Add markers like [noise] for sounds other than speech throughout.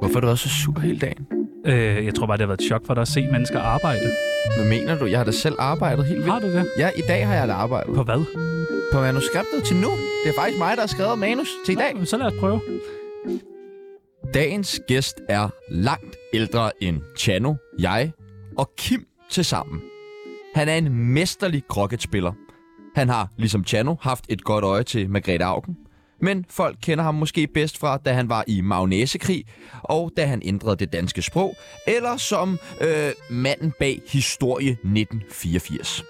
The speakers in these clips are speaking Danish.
Hvorfor har du været så sur hele dagen? Øh, jeg tror bare, det har været et chok for dig at se mennesker arbejde. Hvad mener du? Jeg har da selv arbejdet helt Har vildt. du det? Ja, i dag har jeg da arbejdet. På hvad? På manuskriptet til nu. Det er faktisk mig, der har skrevet manus til i dag. Nå, Så lad os prøve. Dagens gæst er langt ældre end Chano, jeg og Kim til sammen. Han er en mesterlig crocketspiller. Han har, ligesom Chano, haft et godt øje til Margrethe Augen. Men folk kender ham måske bedst fra, da han var i Magnæsekrig, og da han ændrede det danske sprog, eller som øh, manden bag Historie 1984.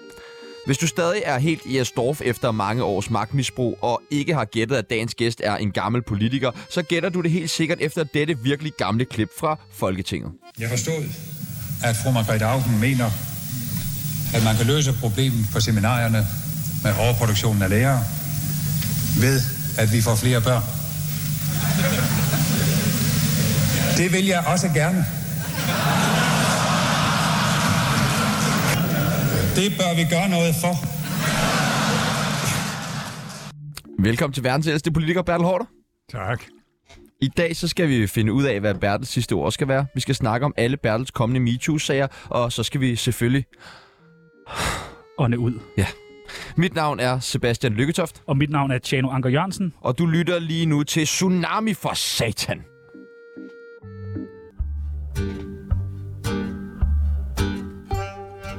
Hvis du stadig er helt i Astorf efter mange års magtmisbrug og ikke har gættet, at dagens gæst er en gammel politiker, så gætter du det helt sikkert efter dette virkelig gamle klip fra Folketinget. Jeg forstod, at fru Margrethe Augen mener, at man kan løse problemet på seminarierne med overproduktionen af lærere ved, at vi får flere børn. Det vil jeg også gerne. Det bør vi gøre noget for. Velkommen til verdens ældste politiker, Bertel Hårder. Tak. I dag så skal vi finde ud af, hvad Bertels sidste ord skal være. Vi skal snakke om alle Bertels kommende MeToo-sager, og så skal vi selvfølgelig... Ånde ud. Mit navn er Sebastian Lykketoft, Og mit navn er Tjano Anker Jørgensen. og du lytter lige nu til Tsunami for Satan.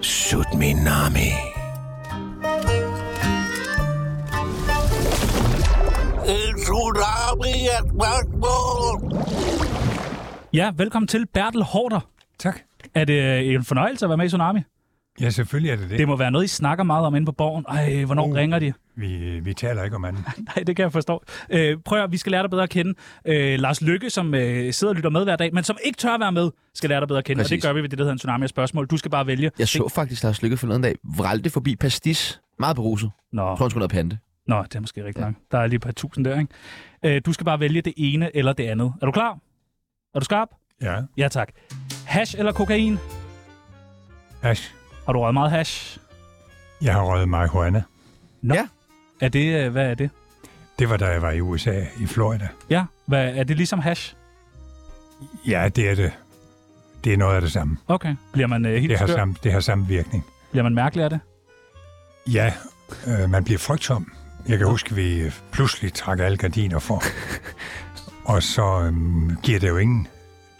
Sut min nami. En tsunami er et spørgsmål. Ja, velkommen til Bertel Hårder. Tak. Er det øh, en fornøjelse at være med i Tsunami? Ja, selvfølgelig er det det. Det må være noget, I snakker meget om inde på borgen. Ej, hvornår uh. Uh. ringer de? Vi, vi taler ikke om andet. Nej, det kan jeg forstå. Øh, prøv at, høre, vi skal lære dig bedre at kende. Øh, Lars Lykke, som øh, sidder og lytter med hver dag, men som ikke tør at være med, skal lære dig bedre at kende. Præcis. Og Præcis. det gør vi ved det, der hedder en tsunami af spørgsmål. Du skal bare vælge. Jeg så faktisk Lars Lykke forleden dag vralte forbi Pastis. Meget beruset. Nå, Jeg tror, han skulle have pante. nå, det er måske rigtigt nok. Der er lige et par tusind der, ikke? Øh, du skal bare vælge det ene eller det andet. Er du klar? Er du skarp? Ja. Ja, tak. Hash eller kokain? Ash, Har du røget meget hash? jeg har røget marihuana. Er det, øh, hvad er det? Det var, da jeg var i USA, i Florida. Ja, hvad, er det ligesom hash? Ja, det er det. Det er noget af det samme. Okay. Bliver man øh, Det helt har skør? samme, det har samme virkning. Bliver man mærkelig af det? Ja, øh, man bliver frygtsom. Jeg kan huske, at vi øh, pludselig trak alle gardiner for. Og så øhm, giver det jo ingen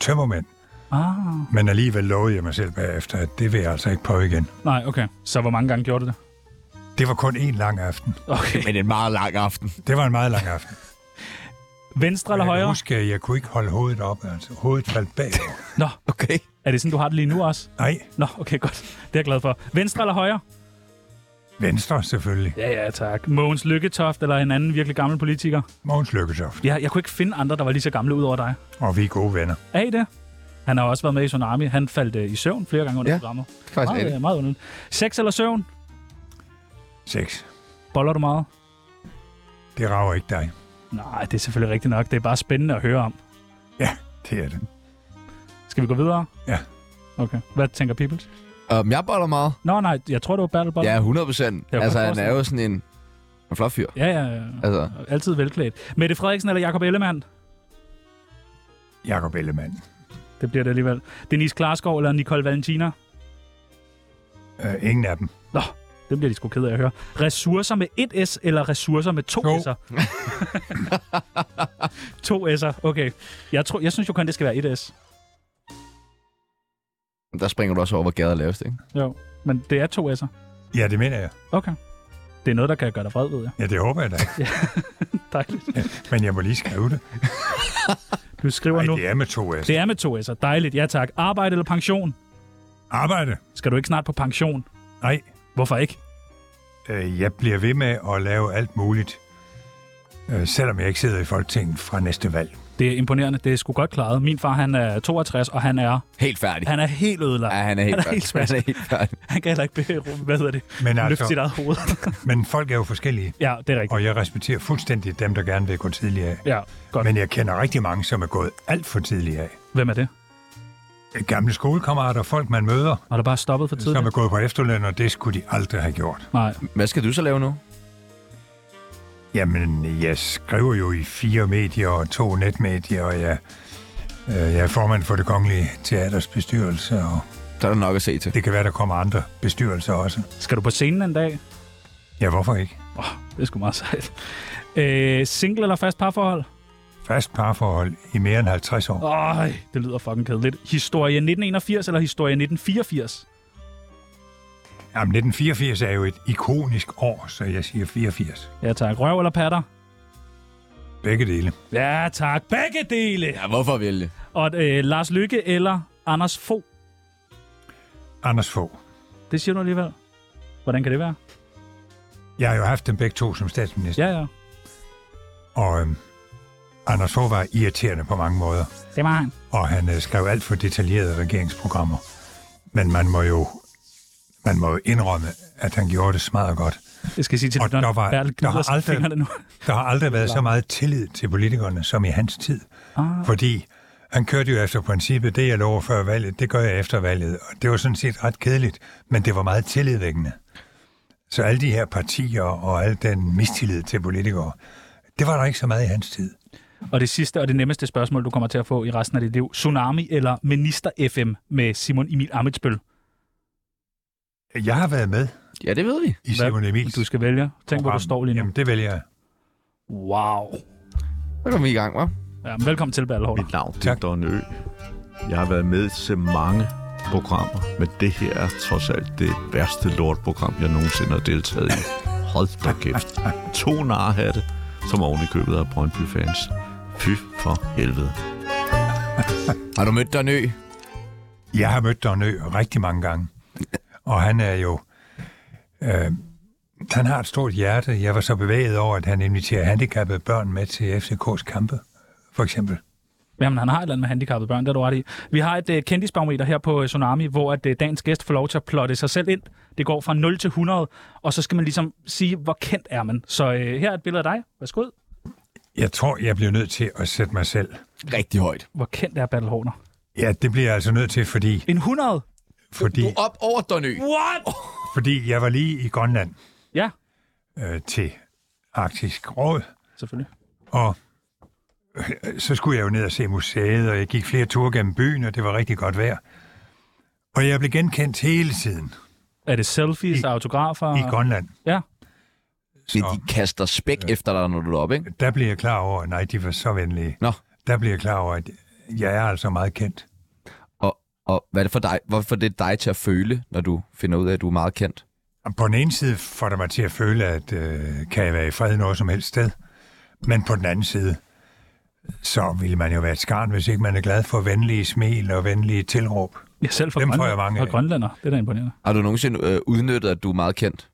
tømmermænd. Ah, Men alligevel lovede jeg mig selv bagefter, at det vil jeg altså ikke prøve igen. nej, okay. Så hvor mange gange gjorde du det? Det var kun en lang aften. Okay. Men en meget lang aften. Det var en meget lang aften. Venstre eller Jeg kan højre? huske, at jeg kunne ikke holde hovedet op. Altså, hovedet faldt bagover. Nå, Okay. er det sådan, du har det lige nu også? Nej, Nå, okay, godt. Det er jeg glad for. Venstre eller højre? Venstre selvfølgelig. Ja, ja, tak. Mogens Lykketoft eller en anden virkelig gammel politiker? Mogens Lykketoft. Ja, jeg kunne ikke finde andre, der var lige så gamle ud over dig. Og vi er gode venner. Er I det? Han har også været med i Tsunami. Han faldt øh, i søvn flere gange under Ja, programmet. Faktisk Meget, øh, meget underligt. Sex eller søvn? Sex. Boller du meget? Det rager ikke dig. Nej, det er selvfølgelig rigtigt nok. Det er bare spændende at høre om. Ja, det er det. Skal vi gå videre? Ja. Okay. Hvad tænker Peoples? Um, jeg boller meget. Nå, nej, jeg tror, det var Battle Bolle. Ja, 100 procent. Jeg Altså, kunne han er jo sådan en, en flot fyr. Ja, ja, ja. Altså, Altid velklædt. Mette Frederiksen eller Jakob Ellemann? Jakob Ellemann. Det bliver det alligevel. Denise Klarskov eller Nicole Valentina? Uh, ingen af dem. Nå, det bliver de sgu ked af at høre. Ressourcer med et S eller ressourcer med to, To. S'er? [laughs] to S'er, okay. Jeg, tror, jeg synes jo kun, det skal være et S. der springer du også over, hvor gader er lavest, ikke? Jo, men det er to S'er. Ja, det mener jeg. Okay. Det er noget, der kan gøre dig vred, ved jeg. Ja, det håber jeg da. Dejligt. Men jeg må lige skrive det. Du skriver Nej, nu. det er med to S. Det er med to S'er. Dejligt, ja tak. Arbejde eller pension? Arbejde. Skal du ikke snart på pension? Nej, Hvorfor ikke? øh, jeg bliver ved med at lave alt muligt. Øh, selvom jeg ikke sidder i Folketinget fra næste valg. Det er imponerende. Det er sgu godt klaret. Min far, han er 62, og han er, Helt færdig. han er helt ødelagt. Ja, han er helt han er helt færdig. smadret. Han er helt færdig. Han kan heller ikke be- hvad hedder det? Men, løfte sit altså, eget hoved. [laughs] men folk er jo forskellige, ja, det er rigtigt. og jeg respekterer fuldstændig dem, der gerne vil gå tidligere af. Ja, godt. Men... Men jeg kender rigtig mange, som er gået alt for tidligt af. Hvem er det? Gamle skolekammerater, folk man møder, Har du bare stoppet for tidligt? som er gået på efterløn, og det skulle de aldrig have gjort. Nej. Hvad skal du så lave nu? Jamen, jeg skriver jo i fire medier og to netmedier, og jeg Øh, Jeg er formand for det kongelige teaters bestyrelse, og Så er der nok at se til. det kan være, der kommer andre bestyrelser også. Skal du på scenen en dag? Ja, hvorfor ikke? Det er sgu meget sejt. Øh, single eller fast parforhold? Fast parforhold i mere end 50 år. Øj, det lyder fucking kedeligt. Historie 1981 eller historie 1984? Jamen, 1984 er jo et ikonisk år, så jeg siger 84. Ja tak. Røv eller patter? Begge dele. Ja tak. Begge dele. Ja, hvorfor vælge? Og øh, Lars Lykke eller Anders Fogh? Anders Fogh. Det siger du alligevel. Hvordan kan det være? Jeg har jo haft dem begge to som statsminister, Ja, ja. ja. og øhm, Anders Fogh var irriterende på mange måder, Det var han. og han øh, skrev alt for detaljerede regeringsprogrammer. Men man må jo man må jo indrømme, at han gjorde det smadret godt. Jeg skal sige til Og dig, der var- Bertel der gnider har sig i aldrig- fingrene nu. Der har aldrig været så meget tillid til politikerne som i hans tid, Ah, fordi han kørte jo efter princippet, det jeg lover før valget, det gør jeg efter valget. Og det var sådan set ret kedeligt, men det var meget tillidvækkende. Så alle de her partier og al den mistillid til politikere, det var der ikke så meget i hans tid. og det sidste og det nemmeste spørgsmål, du kommer til at få i resten af dit liv. Tsunami eller Minister FM med Simon Emil Amitsbøl? Jeg har været med Ja, det ved vi. i Hvad Simon Emils Du skal vælge. Tænk, hvor du program. står lige nu. Jamen, det vælger jeg. Wow. Så kommer vi i gang, hva'? Ja, men velkommen til, Bertel Hård. Mit navn det er Tak. Donne Ø. Jeg har været med til mange programmer, men det her er trods alt det værste lortprogram, jeg nogensinde har deltaget i. Hold da kæft. To narhatte, som oven i købet af Brøndby-fans. Fy for helvede. Har du mødt Don Ø? Jeg har mødt Don Ø rigtig mange gange, og han er jo... Øh, han har et stort hjerte. Jeg var så bevæget over, at han inviterer handicappede børn med til FCK's kampe, for eksempel. Jamen, han har et eller andet med handicappede børn, det er du ret i. Vi har et uh, kendisbarometer her på øh, Tsunami, hvor at, uh, dagens gæst får lov til at plotte sig selv ind. Det går fra 0 til 100, og så skal man ligesom sige, hvor kendt er man. Så uh, her er et billede af dig. Værsgo. Jeg tror, jeg bliver nødt til at sætte mig selv. Rigtig højt. Hvor kendt er Bertel Hårder? Ja, det bliver jeg altså nødt til, fordi, En 100? fordi, Du er op over Don Ø. What? fordi jeg var lige i Grønland Ja, øh, til Arktisk Råd, selvfølgelig. Og øh, så skulle jeg jo ned og se museet, og jeg gik flere ture gennem byen, og det var rigtig godt vejr. Og jeg blev genkendt hele tiden Er det selfies, I- I, autografer? i Grønland. Ja. Men Så de kaster spæk efter dig, når du er oppe, ikke? der blev jeg klar over, nej, de var så venlige. Nå. Der blev jeg klar over, at jeg er altså meget kendt. Og hvad er det for dig? Hvorfor er det dig til at føle, når du finder ud af, at du er meget kendt? Og på den ene side får det mig til at føle, at øh, kan jeg være i fred noget som helst sted. Men på den anden side, så ville man jo være et skarn, hvis ikke man er glad for venlige smil og venlige tilråb. Ja, selv for Dem får Grønland, jeg mange for af. grønlænder. Det er da imponerende. Har du nogensinde øh, udnyttet, at du er meget kendt?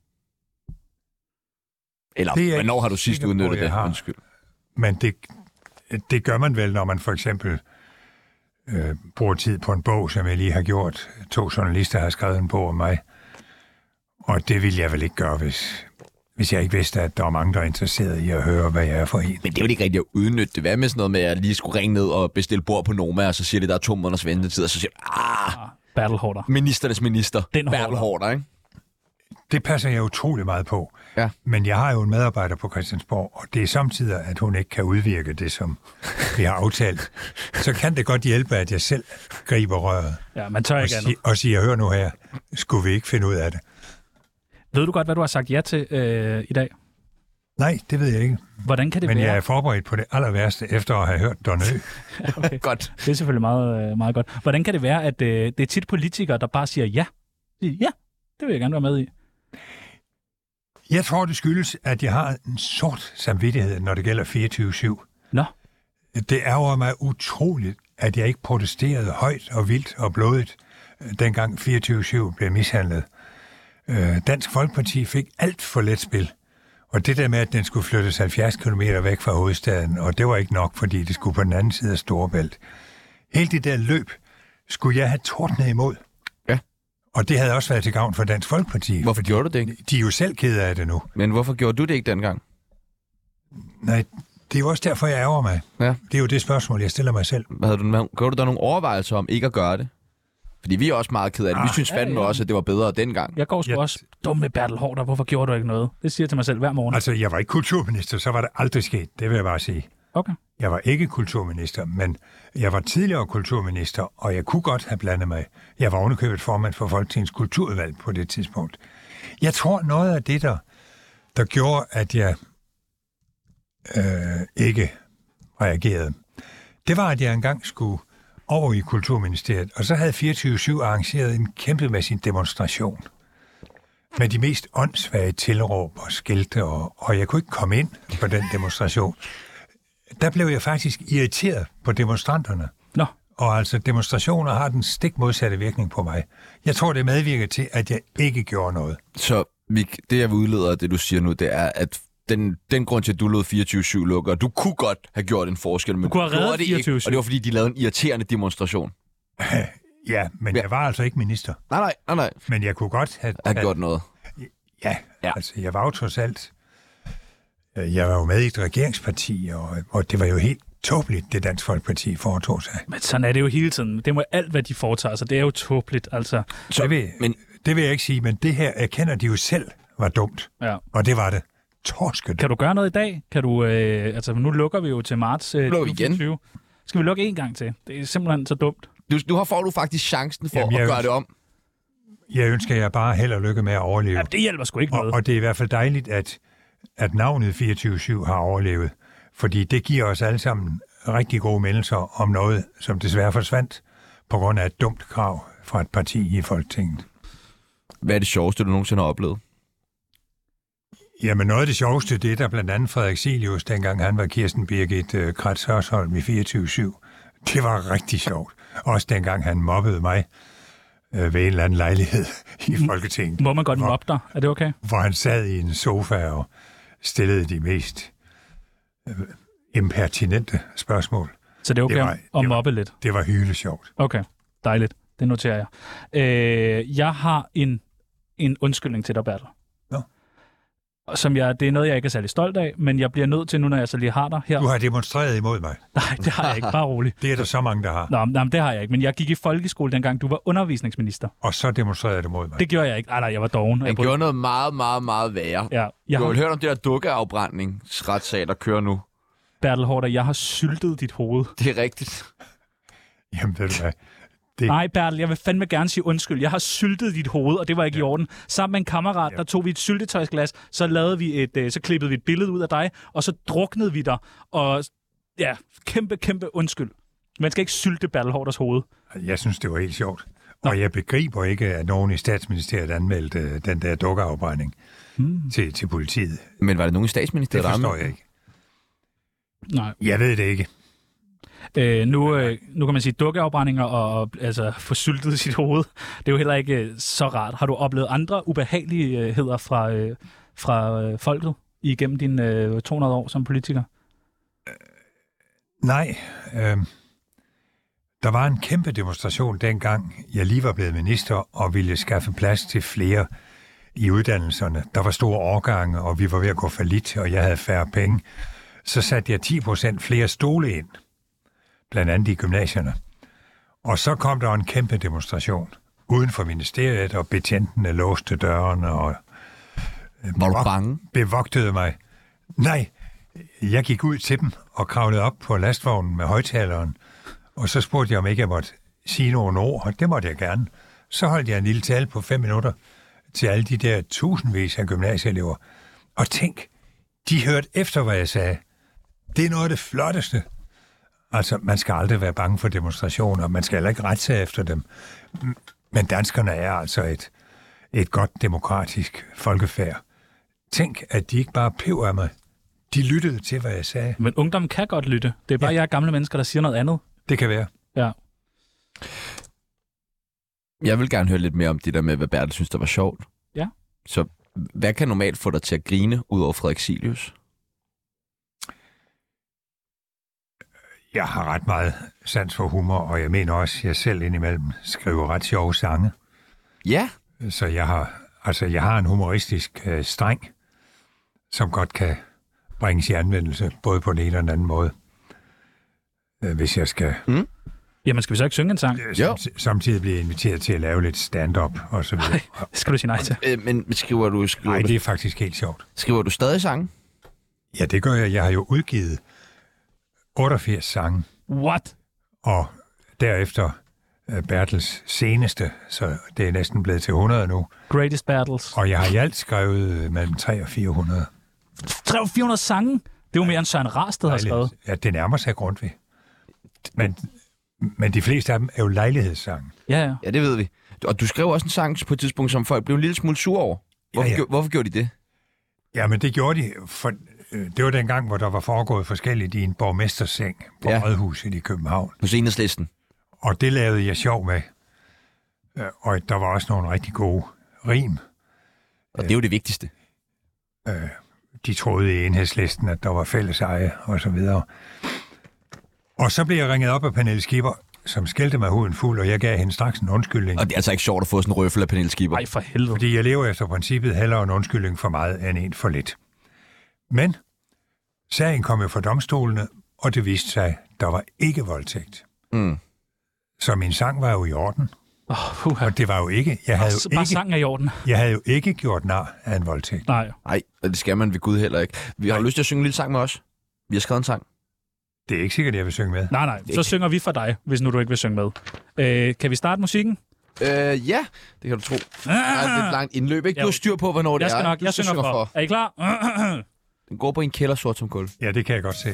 Eller Det er jeg hvornår ikke har du sidst sikker på, udnyttet jeg det? har. Undskyld. Men det, det gør man vel, når man for eksempel øh, bruger tid på en bog, som jeg lige har gjort. To journalister har skrevet en bog om mig. Og det ville jeg vel ikke gøre, hvis, hvis jeg ikke vidste, at der var mange, der er interesseret i at høre, hvad jeg er for en. Men det er jo ikke rigtigt at udnytte det. Hvad med sådan noget med, at jeg lige skulle ringe ned og bestille bord på Noma, og så siger det, der er to måneders ventetid, og så siger du, ah, Bertel Hårder. ministernes minister, Den Bertel holder. Hårder, ikke? Det passer jeg utrolig meget på. Ja. Men jeg har jo en medarbejder på Christiansborg, og det er samtidig, at hun ikke kan udvirke det, som vi har aftalt. Så kan det godt hjælpe, at jeg selv griber røret Ja, man tør og, ikke andet. si- og siger, hør nu her, skulle vi ikke finde ud af det? Ved du godt, hvad du har sagt ja til øh, i dag? Nej, det ved jeg ikke. Hvordan kan det Men være? jeg er forberedt på det aller værste, efter at have hørt Don Ø. Okay. Godt. Det er selvfølgelig meget, øh, meget godt. Hvordan kan det være, at øh, det er tit politikere, der bare siger ja? De siger, Ja, det vil jeg gerne være med i. Jeg tror, det skyldes, at jeg har en sort samvittighed, når det gælder 24-7. Nå, Det ærger mig utroligt, at jeg ikke protesterede højt og vildt og blodigt, øh, dengang 24-7 blev mishandlet. Øh, Dansk Folkeparti fik alt for let spil. Og det der med, at den skulle flyttes 70 km væk fra hovedstaden, og det var ikke nok, fordi det skulle på den anden side af Storebælt. Hele det der løb skulle jeg have tordnet imod. Ja. Og det havde også været til gavn for Dansk Folkeparti. Hvorfor gjorde du det ikke? De er jo selv kede af det nu. Men hvorfor gjorde du det ikke dengang? Nej, det er jo også derfor, jeg ærger mig. Ja. Det er jo det spørgsmål, jeg stiller mig selv. Hvad havde du, gjorde du der nogle overvejelser om ikke at gøre det? Fordi vi er også meget ked af det. Vi synes ja, fandme ja. også, at det var bedre dengang. jeg går sgu Ja. også dumme Bertel Hårder, hvorfor gjorde du ikke noget? Det siger jeg til mig selv hver morgen. Altså, jeg var ikke kulturminister, så var det aldrig sket. Det vil jeg bare sige. Okay. Jeg var ikke kulturminister, men jeg var tidligere kulturminister, og jeg kunne godt have blandet mig. Jeg var ovenikøbet formand for Folketingets kulturudvalg på det tidspunkt. Jeg tror, noget af det, der, der gjorde, at jeg øh, ikke reagerede, det var, at jeg engang skulle over i Kulturministeriet, og så havde 24-7 arrangeret en kæmpemæssig demonstration med de mest åndssvage tilråb og skilte, og, og jeg kunne ikke komme ind på den demonstration. Der blev jeg faktisk irriteret på demonstranterne. Nå, Og altså, demonstrationer har den stik modsatte virkning på mig. Jeg tror, det medvirker til, at jeg ikke gjorde noget. Så Mik, det jeg udleder af det, du siger nu, det er, at den, den grund til, at du lod 24-7 lukke, og du kunne godt have gjort en forskel, men Du kunne have gjorde reddet det ikke, 24/7. og det var, fordi de lavede en irriterende demonstration. Ja, men Ja. jeg var altså ikke minister. Nej, nej, nej, nej. Men jeg kunne godt have... Han gjort noget. Ja, Ja. ja, altså jeg var jo trods alt... øh, Jeg var jo med i et regeringsparti, og, og det var jo helt tåbeligt, det Dansk Folkeparti foretog sig. men sådan er det jo hele tiden. Det må alt, hvad de foretager sig. Det er jo tåbeligt, altså. Så, det, vil, men- men... det vil jeg ikke sige, men det her erkender de jo selv var dumt. Ja. Og det var det. Torsket. Kan du gøre noget i dag? Kan du, øh, altså, nu lukker vi jo til marts øh, Lukker vi igen? 2024. Skal vi lukke en gang til? Det er simpelthen så dumt. Du, nu har, får du faktisk chancen for Jamen, Jamen, at jeg- gøre det om. Jeg ønsker jer bare held og lykke med at overleve. Ja, det hjælper sgu ikke Og, noget. og det er i hvert fald dejligt, at, at navnet 24-7 har overlevet, fordi det giver os alle sammen rigtig gode meldelser om noget, som desværre forsvandt på grund af et dumt krav fra et parti i Folketinget. Hvad er det sjoveste, du nogensinde har oplevet? Jamen noget af det sjoveste, det er der blandt andet Frederik Silius, dengang han var Kirsten Birgit øh, Kratz Hørsholm i 24-7. Det var rigtig sjovt. Også dengang han mobbede mig øh, ved en eller anden lejlighed i Folketinget. Må man godt mobbe dig? Er det okay? hvor han sad i en sofa og stillede de mest øh, impertinente spørgsmål. Så det er okay Det var- at- det var- at mobbe lidt? Det var hylesjovt. Okay, dejligt. Det noterer jeg. Øh, jeg har en, en undskyldning til dig, Bertel. Nå. Og Som jeg, det er noget, jeg ikke er særlig stolt af, men jeg bliver nødt til nu, når jeg så lige har dig her. Du har demonstreret imod mig. [laughs] Nej, det har jeg ikke. Bare rolig. Det er der så mange, der har. Nå, men- nej, men det har jeg ikke. Men jeg gik i folkeskole, dengang du var undervisningsminister. Og så demonstrerede du mod mig. Det gjorde jeg ikke. Nej, nej, jeg var doven. Han og Jeg brød- gjorde noget meget, meget, meget værre. Ja. Ja, jeg Du har vel har, hørt om det der dukkeafbrændingsretssag, der kører nu. Bertel Hårder, jeg har syltet dit hoved. Det er rigtigt. Jamen ved du hvad, Nej, Bertel, jeg vil fandme gerne sige undskyld. Jeg har syltet dit hoved, og det var ikke ja. i orden. Sammen med en kammerat, der tog vi et syltetøjsglas, så, lavede vi et, øh, så klippede vi et billede ud af dig, og så druknede vi dig. Og ja, kæmpe, kæmpe undskyld. Man skal ikke sylte Bertel Hårders hoved. jeg synes, det var helt sjovt. Og jeg begriber ikke, at nogen i statsministeriet anmeldte øh, den der dukkerafbrænding hmm. til, til politiet. Men var det nogen i Det statsministeriet, der forstår ramte? jeg ikke. Nej. Jeg ved det ikke. Øh, nu, øh, nu kan man sige dukkeafbrændinger og og, altså, få syltet sit hoved. Det er jo heller ikke øh, så rart. Har du oplevet andre ubehageligheder fra, øh, fra øh, folket igennem dine øh, 200 år som politiker? Nej. Øh, der var en kæmpe demonstration dengang, jeg lige var blevet minister og ville skaffe plads til flere i uddannelserne. Der var store årgange, og vi var ved at gå for lidt, og jeg havde færre penge. Så satte jeg 10 procent flere stole ind, blandt andet i gymnasierne. Og så kom der en kæmpe demonstration uden for ministeriet, og betjentene låste dørene, og Var du bange? bevogtede mig. Nej, jeg gik ud til dem og kravlede op på lastvognen med højtaleren, og så spurgte jeg, om ikke jeg måtte sige nogle ord, og det måtte jeg gerne. Så holdt jeg en lille tale på fem minutter til alle de der tusindvis af gymnasieelever. Og tænk, de hørte efter, hvad jeg sagde. Det er noget af det flotteste. Altså, man skal aldrig være bange for demonstrationer, man skal heller ikke rette sig efter dem. Men danskerne er altså et, et godt demokratisk folkefærd. Tænk, at de ikke bare pev af mig. De lyttede til, hvad jeg sagde. Men ungdommen kan godt lytte. Det er bare ja. Ja. jer gamle mennesker, der siger noget andet. Det kan være. Ja. Jeg vil gerne høre lidt mere om det der med, hvad Bertel synes, der var sjovt. Ja. Så hvad kan normalt få dig til at grine, ud over Frederik Silius? Jeg har ret meget sans for humor, og jeg mener også, at jeg selv indimellem skriver ret sjove sange. Ja. Så jeg har, altså, jeg har en humoristisk øh, streng, som godt kan bringes i anvendelse, både på den ene og den anden måde. Øh, Hvis jeg skal Jamen, skal vi så ikke synge en sang? øh, Jo. samti- samtidig blive inviteret til at lave lidt stand-up og så videre. Det skal du sige nej til. Øh, men skriver du, skriver, Nej, du, det er faktisk helt sjovt. skriver du stadig sange? Ja, det gør jeg. Jeg har jo udgivet 88 sange, What? og derefter øh, Bertels seneste, så det er næsten blevet til 100 nu. Greatest Battles. Og jeg har i alt skrevet øh, mellem 3 og 400. 300-400 sange. Det er jo mere end Søren Rasted har skrevet. Ja, det nærmer sig Grundtvig. Men, men de fleste af dem er jo lejlighedssange. Ja, ja. Ja, det ved vi. Og du skrev også en sang på et tidspunkt, som folk blev en lille smule sure over. Hvorfor, ja. gjorde- hvorfor gjorde de det? Ja, men det gjorde de, for øh, det var den gang, hvor der var foregået forskelligt i en borgmesterseng på Ja. ja. Rådhuset i København. Hos enhedslisten. Og det lavede jeg sjov med. Øh, Og der var også nogle rigtig gode rim. Og det er jo det vigtigste. Øh, De troede i enhedslisten, at der var fælles eje og så videre. Og så blev jeg ringet op af Pernille Skipper, som skældte mig huden fuld, og jeg gav hende straks en undskyldning. Og det er altså ikke sjovt at få sådan en røffel af Pernille Skipper. Ej, for helvede. Fordi jeg lever efter princippet hellere en undskyldning for meget end en for lidt. Men sagen kom jo fra domstolene, og det viste sig, der var ikke voldtægt. Mm. Så min sang var jo i orden, Oh, puha. og det var jo ikke... Jeg havde S- jo Bare ikke, sangen er i orden. jeg havde jo ikke gjort nar af en voldtægt. Nej. Nej, og det skal man ved Gud heller ikke. Vi har lyst til at synge en lille sang med os. Vi har skrevet en sang. Det er ikke sikkert, jeg vil synge med. Nej, nej. Så synger vi for dig, hvis nu du ikke vil synge med. Øh, kan vi starte musikken? Øh, ja, det kan du tro. Der er et lidt langt indløb, ikke? Du Ja. har styr på, hvornår det Jeg er. skal nok. Du Jeg synger for. Er I klar? [clears throat] Den går på en kælder sort som kul. Ja, det kan jeg godt se.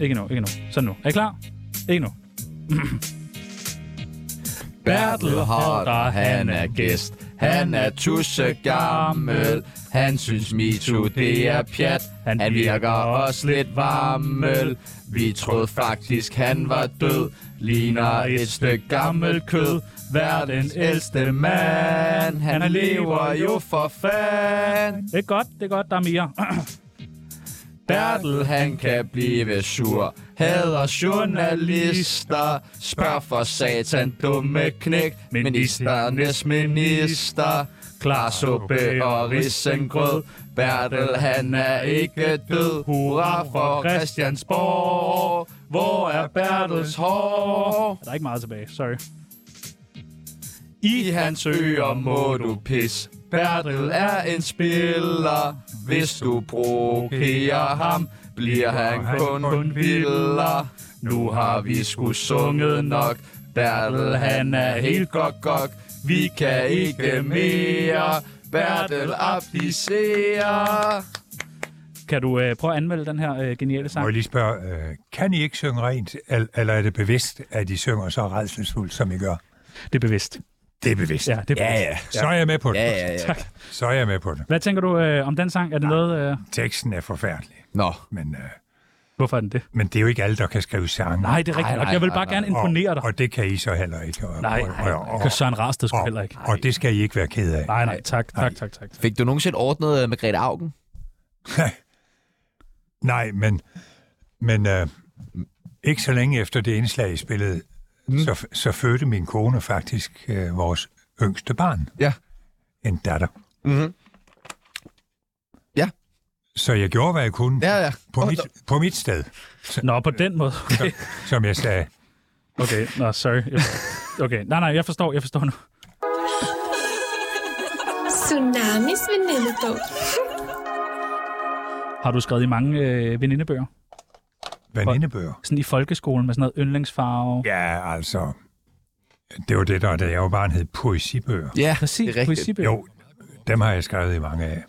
Ikke nu, ikke nu. Sådan nu. Er I klar? Ikke nu. Bertel Haarder, han er gæst. Han er tusse gammel. Han synes MeToo, det er pjat. Han virker også lidt varmel. Vi troede faktisk, han var død. Ligner et stykke gammelt kød. Verdens ældste mand. Han lever jo for fan. Det er godt, det er godt, der er mere. Bertel, han kan blive sur. Hader journalister. Spørg for satan, dumme knæk. Ministernes minister. Klar suppe og risengrød. Bertel, han er ikke død. Hurra for Christiansborg. Hvor er Bertels hår? Der er ikke meget tilbage, sorry. I hans øer må du pis. Bertel er en spiller. Hvis du provokerer ham, bliver han kun vildere. Nu har vi sgu sunget nok. Bertel, han er helt godt gok. Vi kan ikke mere. Bertel abdicerer. Kan du øh, prøve at anmelde den her øh, geniale Må sang? jeg lige spørge, øh, kan I ikke synge rent, el- eller er det bevidst, at I synger så redselsfuldt, som I gør? Det er bevidst. Det er bevidst. Ja, det er bevidst. Så er jeg med på det. [laughs] ja. Så er jeg med på det. Hvad tænker du øh, om den sang? Er det noget... Øh, Teksten er forfærdelig, Nå. men, øh, hvorfor er den det? men det er jo ikke alle, der kan skrive sange. Nej, det er rigtigt nok. Jeg vil bare gerne imponere dig. Og, og det kan I så heller ikke. Og, Nej, og, og, og, nej. Søren Rasted skulle heller ikke. og, og det skal I ikke være ked af. Nej, nej, tak, tak, tak, tak. tak. Fik du nogensinde ordnet øh, med Grete Augen? Nej, men, men øh, ikke så længe efter det indslag, I spillede, mm. så, så fødte min kone faktisk øh, vores yngste barn, Ja. en datter. Mhm. Ja. Så jeg gjorde, hvad jeg kunne Ja, ja. På, mit, på mit sted, Nå, på den måde. Okay, som jeg sagde. okay. nå, sorry. Jeg- Okay, nej, nej, jeg forstår, jeg forstår nu. Tsunamis venindebog. Har du skrevet i mange øh, venindebøger? Vanindebøger. Sådan i folkeskolen med sådan noget yndlingsfarve? Ja, altså, det var det, der, da jeg var barn, hed poesibøger. Ja, Præcis, det er rigtigt. poesibøger. Jo, dem har jeg skrevet i mange af.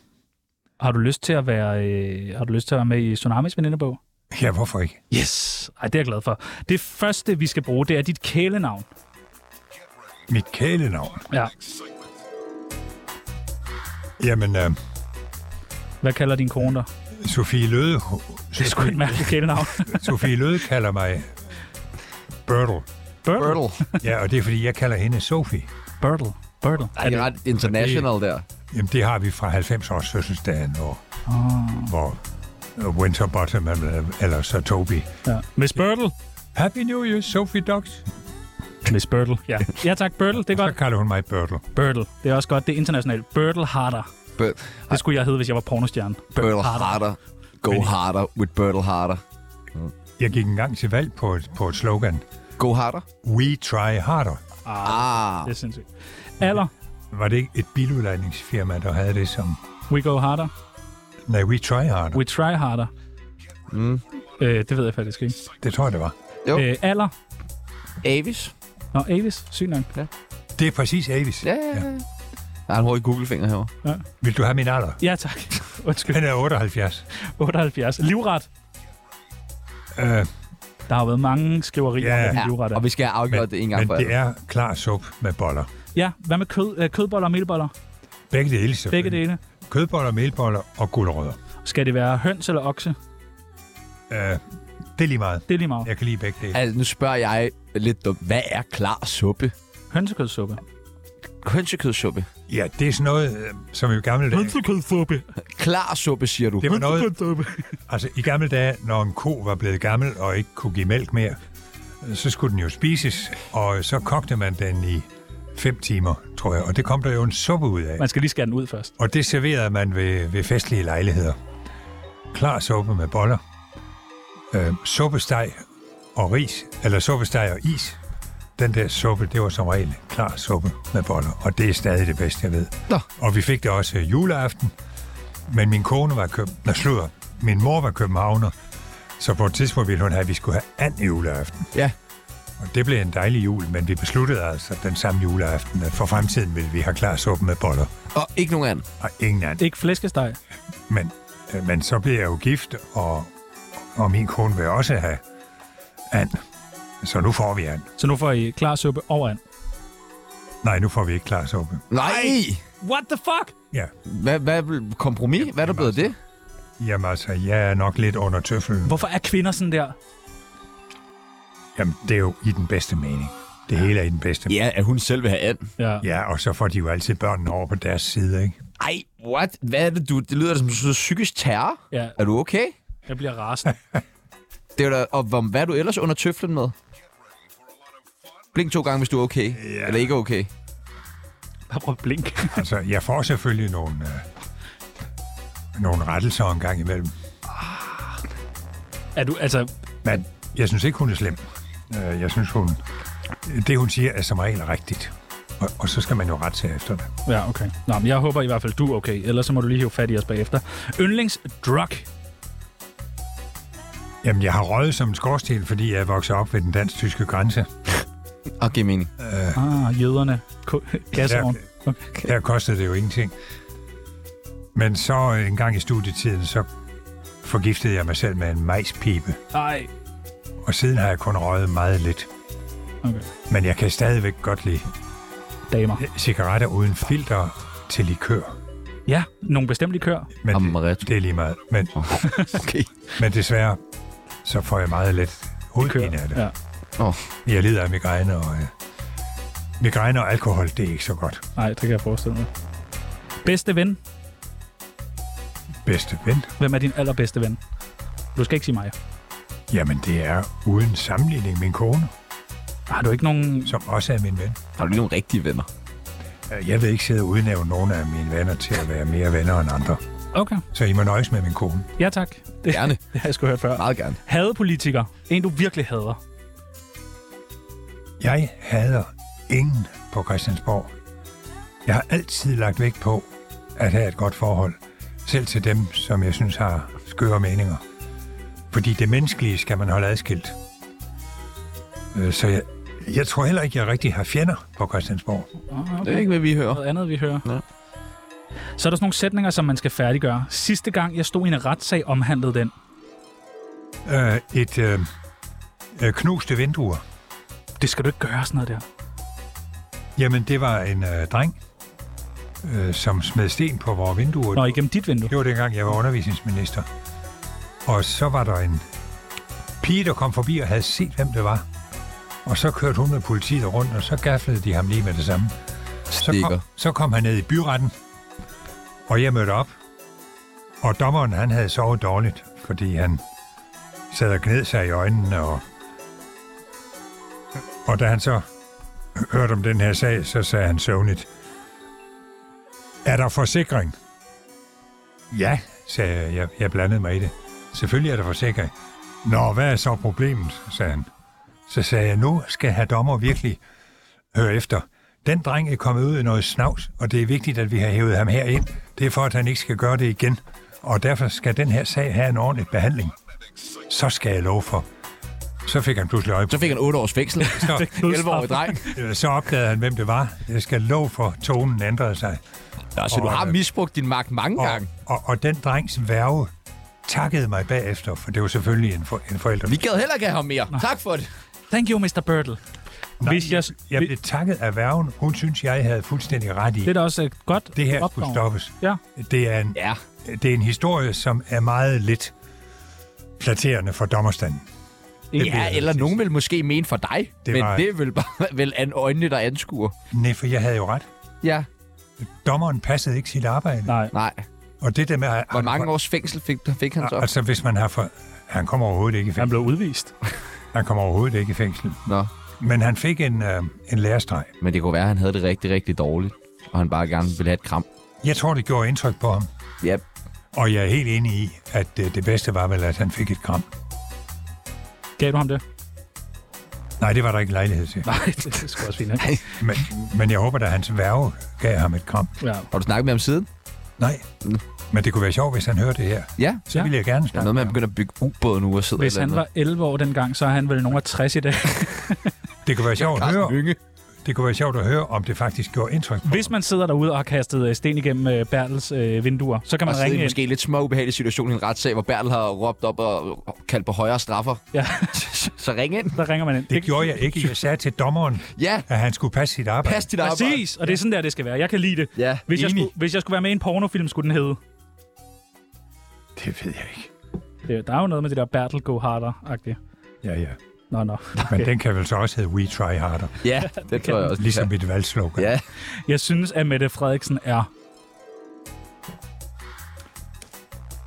Har du lyst til at være, øh, har du lyst til at være med i Tsunamis venindebog? Ja, hvorfor ikke? Yes! Ej, det er jeg glad for. Det første, vi skal bruge, det er dit kælenavn. Mit kælenavn. Ja. Jamen, øh, Hvad kalder din kone dig? Sofie Løde, Det er sgu et mærkeligt kælenavn. Sofie Løde kalder mig Bertel. Burtle. Bertel. Ja, og det er, fordi jeg kalder hende Sofie. Burtle. Burtle. Ej, det [laughs] er ret international der. Jamen, det har vi fra 90-års fødselsdagen, hvor, Ah. oh. hvor øh, Winterbottom, eller- eller så Toby. Ja. Miss Burtle. Happy New Year, Sophie Dogs. Miss Burtle, ja. Ja tak, Burtle, det er Så godt. kalder hun mig Bertel. Burtle, det er også godt, det er internationalt. Burtle Harder. Bert- Det skulle jeg hedde, hvis jeg var pornostjerne. Bertel Harder. Go harder with Bertel Harder. Jeg gik engang til valg på et, på et slogan. Go harder. We try harder. Ah. Det er sindssygt. Alder, Var det ikke et biludlejningsfirma, der havde det som... we go harder. Nej, We Try Harder. We try harder. Mm. Øh, det ved jeg faktisk ikke. Det tror jeg, det var. Jo. Øh, alder? Avis? Nå, Avis. Sygt nok. Det er præcis Avis. Ja, ja, ja. Der er en hurtig googlefinger herovre. Vil du have min alder? Ja, tak. [laughs] Undskyld. Den er 78. 78. Livret. Øh, Der har været mange skriverier Ja, yeah. ja. om, hvad Ja, en livret er. og vi skal have afgjort det en gang men for det alle. er klar sup med boller. Ja, hvad med kød, øh, kødboller og melboller? Begge dele, Begge selvfølgelig. dele. Kødboller, melboller og gulerødder. Skal det være høns eller okse? Øh, det er lige meget. Det er lige meget. Jeg kan lide begge dele. Altså, nu spørger jeg lidt dumt. Hvad er klar suppe? Hønsekødssuppe. Kønsekødssuppe. Ja, det er sådan noget, øh, som i gamle dage... Hønsekødssuppe. Klar suppe, siger du. Det var noget, altså i gamle dage, når en ko var blevet gammel og ikke kunne give mælk mere, øh, så skulle den jo spises, og så kogte man den i fem timer, tror jeg. Og det kom der jo en suppe ud af. Man skal lige skære den ud først. Og det serverede man ved, ved festlige lejligheder. Klar suppe med boller, øh, suppesteg og ris, eller suppesteg og is. Den der suppe, det var som regel klar suppe med boller, og det er stadig det bedste, jeg ved. Nå. Og vi fik det også øh, juleaften, men min kone var køb... Nå, sludder. Min mor var københavner, så på et tidspunkt ville hun have, at vi skulle have anden juleaften. Ja. Og det blev en dejlig jul, men vi besluttede altså den samme juleaften, at for fremtiden ville vi have klar suppe med boller, Og ikke nogen anden. og ingen anden. Ikke flæskesteg. Men, øh, men så blev jeg jo gift, og, og min kone vil også have and. Så nu får vi and. Så nu får I klar suppe over and. Nej, nu får vi ikke klar suppe. Nej! What the fuck? Ja, Hvad, hvad, kompromis? Hvad er der blevet af det? jamen altså, jeg er nok lidt under tøffelen. Hvorfor er kvinder sådan der? Jamen, det er jo i den bedste mening. Det hele er i den bedste mening. Ja, at hun selv vil have and. Ja. Ja, og så får de jo altid børnene over på deres side, ikke? Ej, what? Hvad er det, du? Det lyder da som sådan noget psykisk terror. ja. Er du okay? Jeg bliver [laughs] rasende. Det er da, og hvor- hvad er du ellers under tøflen med? Blink to gange, hvis du er okay. Yeah. Eller ikke er okay. Bare prøv at blink. Altså, jeg får selvfølgelig nogle, øh, nogle rettelser en gang imellem. er du, altså, Men jeg synes ikke, hun er slem. Øh, Jeg synes, hun... Det, hun siger, er som regel rigtigt. Og, og så skal man jo rette sig efter det. ja, okay. Nå, men jeg håber i hvert fald, du er okay. Ellers så må du lige hive fat i os bagefter. Yndlingsdrug. Jamen, jeg har røget som en skorsten, fordi jeg er vokset op ved den dansk-tyske grænse. Og giv mening. Ah, jøderne. [laughs] Ko- Gasovn. Okay. Der kostede det jo ingenting. Men så øh, en gang i studietiden, så forgiftede jeg mig selv med en majspibe. Ej. Og siden har jeg kun røget meget lidt. Okay. Men jeg kan stadigvæk godt lide Damer. øh, cigaretter uden filter til likør. Ja, nogle bestemte likør. Men Amaretto. det, det er lige meget. Men, Okay. men desværre, så får jeg meget lidt hovedpine af det. Ja. Jeg lider af migræne, og øh, migræne og alkohol, det er ikke så godt. Nej, det kan jeg forestille mig. Bedste ven. Bedste ven, Hvem er din allerbedste ven? Du skal ikke sige mig. Jamen, det er uden sammenligning min kone, Har du ikke nogen... som også er min ven. Har du lige nogle rigtige venner? Jeg vil ikke sidde og udnævne nogen af mine venner til at være mere venner end andre. Okay. Så I må nøjes med min kone. Ja, tak. Det, Gerne. [laughs] det har jeg sgu hørt før. Meget gerne. Hade politiker. En, du virkelig hader. Jeg hader ingen på Christiansborg. Jeg har altid lagt vægt på at have et godt forhold, selv til dem, som jeg synes har skøre meninger. Fordi det menneskelige skal man holde adskilt. Øh, Så jeg, jeg tror heller ikke, jeg rigtig har fjender på Christiansborg. Oh, Det er ikke, hvad vi hører. noget andet, vi hører. Ja. Så er der sådan nogle sætninger, som man skal færdiggøre. Sidste gang, jeg stod i en retssag, omhandlede den. Øh, Et øh, øh, knuste vinduer. Det skal du ikke gøre, sådan noget der. Jamen, det var en øh, dreng, øh, som smed sten på vores vinduer. Nå, igennem dit vindue. Det var dengang, jeg var undervisningsminister. Og så var der en pige, der kom forbi og havde set, hvem det var. Og så kørte hun med politiet rundt, og så gaflede de ham lige med det samme. Så Stikker. kom, så kom han ned i byretten, og jeg mødte op. Og dommeren, han havde sovet dårligt, fordi han sad og gned sig i øjnene. Og, og da han så hørte om den her sag, så sagde han søvnigt, er der forsikring? Ja, sagde jeg. jeg. Jeg blandede mig i det. Selvfølgelig er der forsikring. Nå, hvad er så problemet, sagde han. Så sagde jeg, nu skal herr dommer virkelig høre efter. Den dreng er kommet ud i noget snavs, og det er vigtigt, at vi har hævet ham herind. Det er for, at han ikke skal gøre det igen. og derfor skal den her sag have en ordentlig behandling. Så skal jeg love for. Så fik han pludselig [laughs] øje på Så fik han 8 års fængsel. [laughs] så, 11-årig dreng. øh, så opdagede han, hvem det var. Jeg skal love for, tonen ændrede sig. Nå, så du har misbrugt din magt mange Og, gange. og, og den drengs værve takkede mig bagefter, for det var selvfølgelig en, for, en forælder. Vi gad heller ikke have ham mere. Tak for det. Thank you, Mr. Birtle. Hvis jeg, Jeg blev takket af værven. Hun synes, jeg havde fuldstændig ret i. det er da også et godt det her opdrag. skulle stoppes. Ja. Det er, en, Ja. det er en historie, som er meget lidt flatterende for dommerstanden. Ja, eller nogen vil måske mene for dig. Det Det men var- det er vel bare [laughs] vel an øjnene, der anskuer. Nej, for jeg havde jo ret. Ja. Dommeren passede ikke sit arbejde. Nej. Nej. Og det der med... at- Hvor mange års fængsel fik, fik han så? Altså, hvis man har for... Han kommer overhovedet ikke i Han fængsel. blev udvist. Han kommer overhovedet ikke i fængsel. Nå. Men han fik en, øh, en lærestreg. Men det kunne være, at han havde det rigtig, rigtig dårligt. Og han bare gerne ville have et kram. Jeg tror, det gjorde indtryk på ham. Ja. Og jeg er helt enig i, at øh, det bedste var vel, at han fik et kram. Gav du ham det? Nej, det var der ikke lejlighed til. Nej, [laughs] det, det skulle også fint. ikke? Men, men jeg håber, at hans værve gav ham et kram. Ja. Har du snakket med ham siden? Nej. Men det kunne være sjovt, hvis han hørte det her. Mm. Ja. Så Ja. ja. ville jeg gerne Der er snakke. noget med, at han begynder at bygge ubåde nu og sidder Hvis et han eller var 11 år dengang, så er han vel nogen af 60 i dag. Det kunne være sjovt at andet. høre. Carsten Hynge. Det kunne være sjovt at høre, om det faktisk gjorde indtryk på Hvis man sidder derude og har kastet øh, sten igennem øh, Bertels øh, vinduer, så kan Og man sidde i ringe en ind. måske lidt små ubehagelig situation i en retssag, hvor Bertel har råbt op og kaldt på højere straffer. Ja, [laughs] Så ring ind. der ringer man ind. ham. Det gjorde jeg ikke. Jeg sagde til dommeren, Ja, at han skulle passe sit arbejde. pas dit arbejde. Præcis, og det er sådan der, det skal være. Jeg kan lide det. Ja, Hvis jeg, enig. skulle, hvis jeg skulle være med i en pornofilm, skulle den hedde. Det ved jeg ikke. Det, der er jo noget med det der Bertel Go Harder-agtige. Ja, ja. Nå, nå. Men den kan vel så også hedde We Try Harder. Ja, det tror jeg også. Ligesom mit valgslogan. Ja, Jeg synes, at Mette Frederiksen er...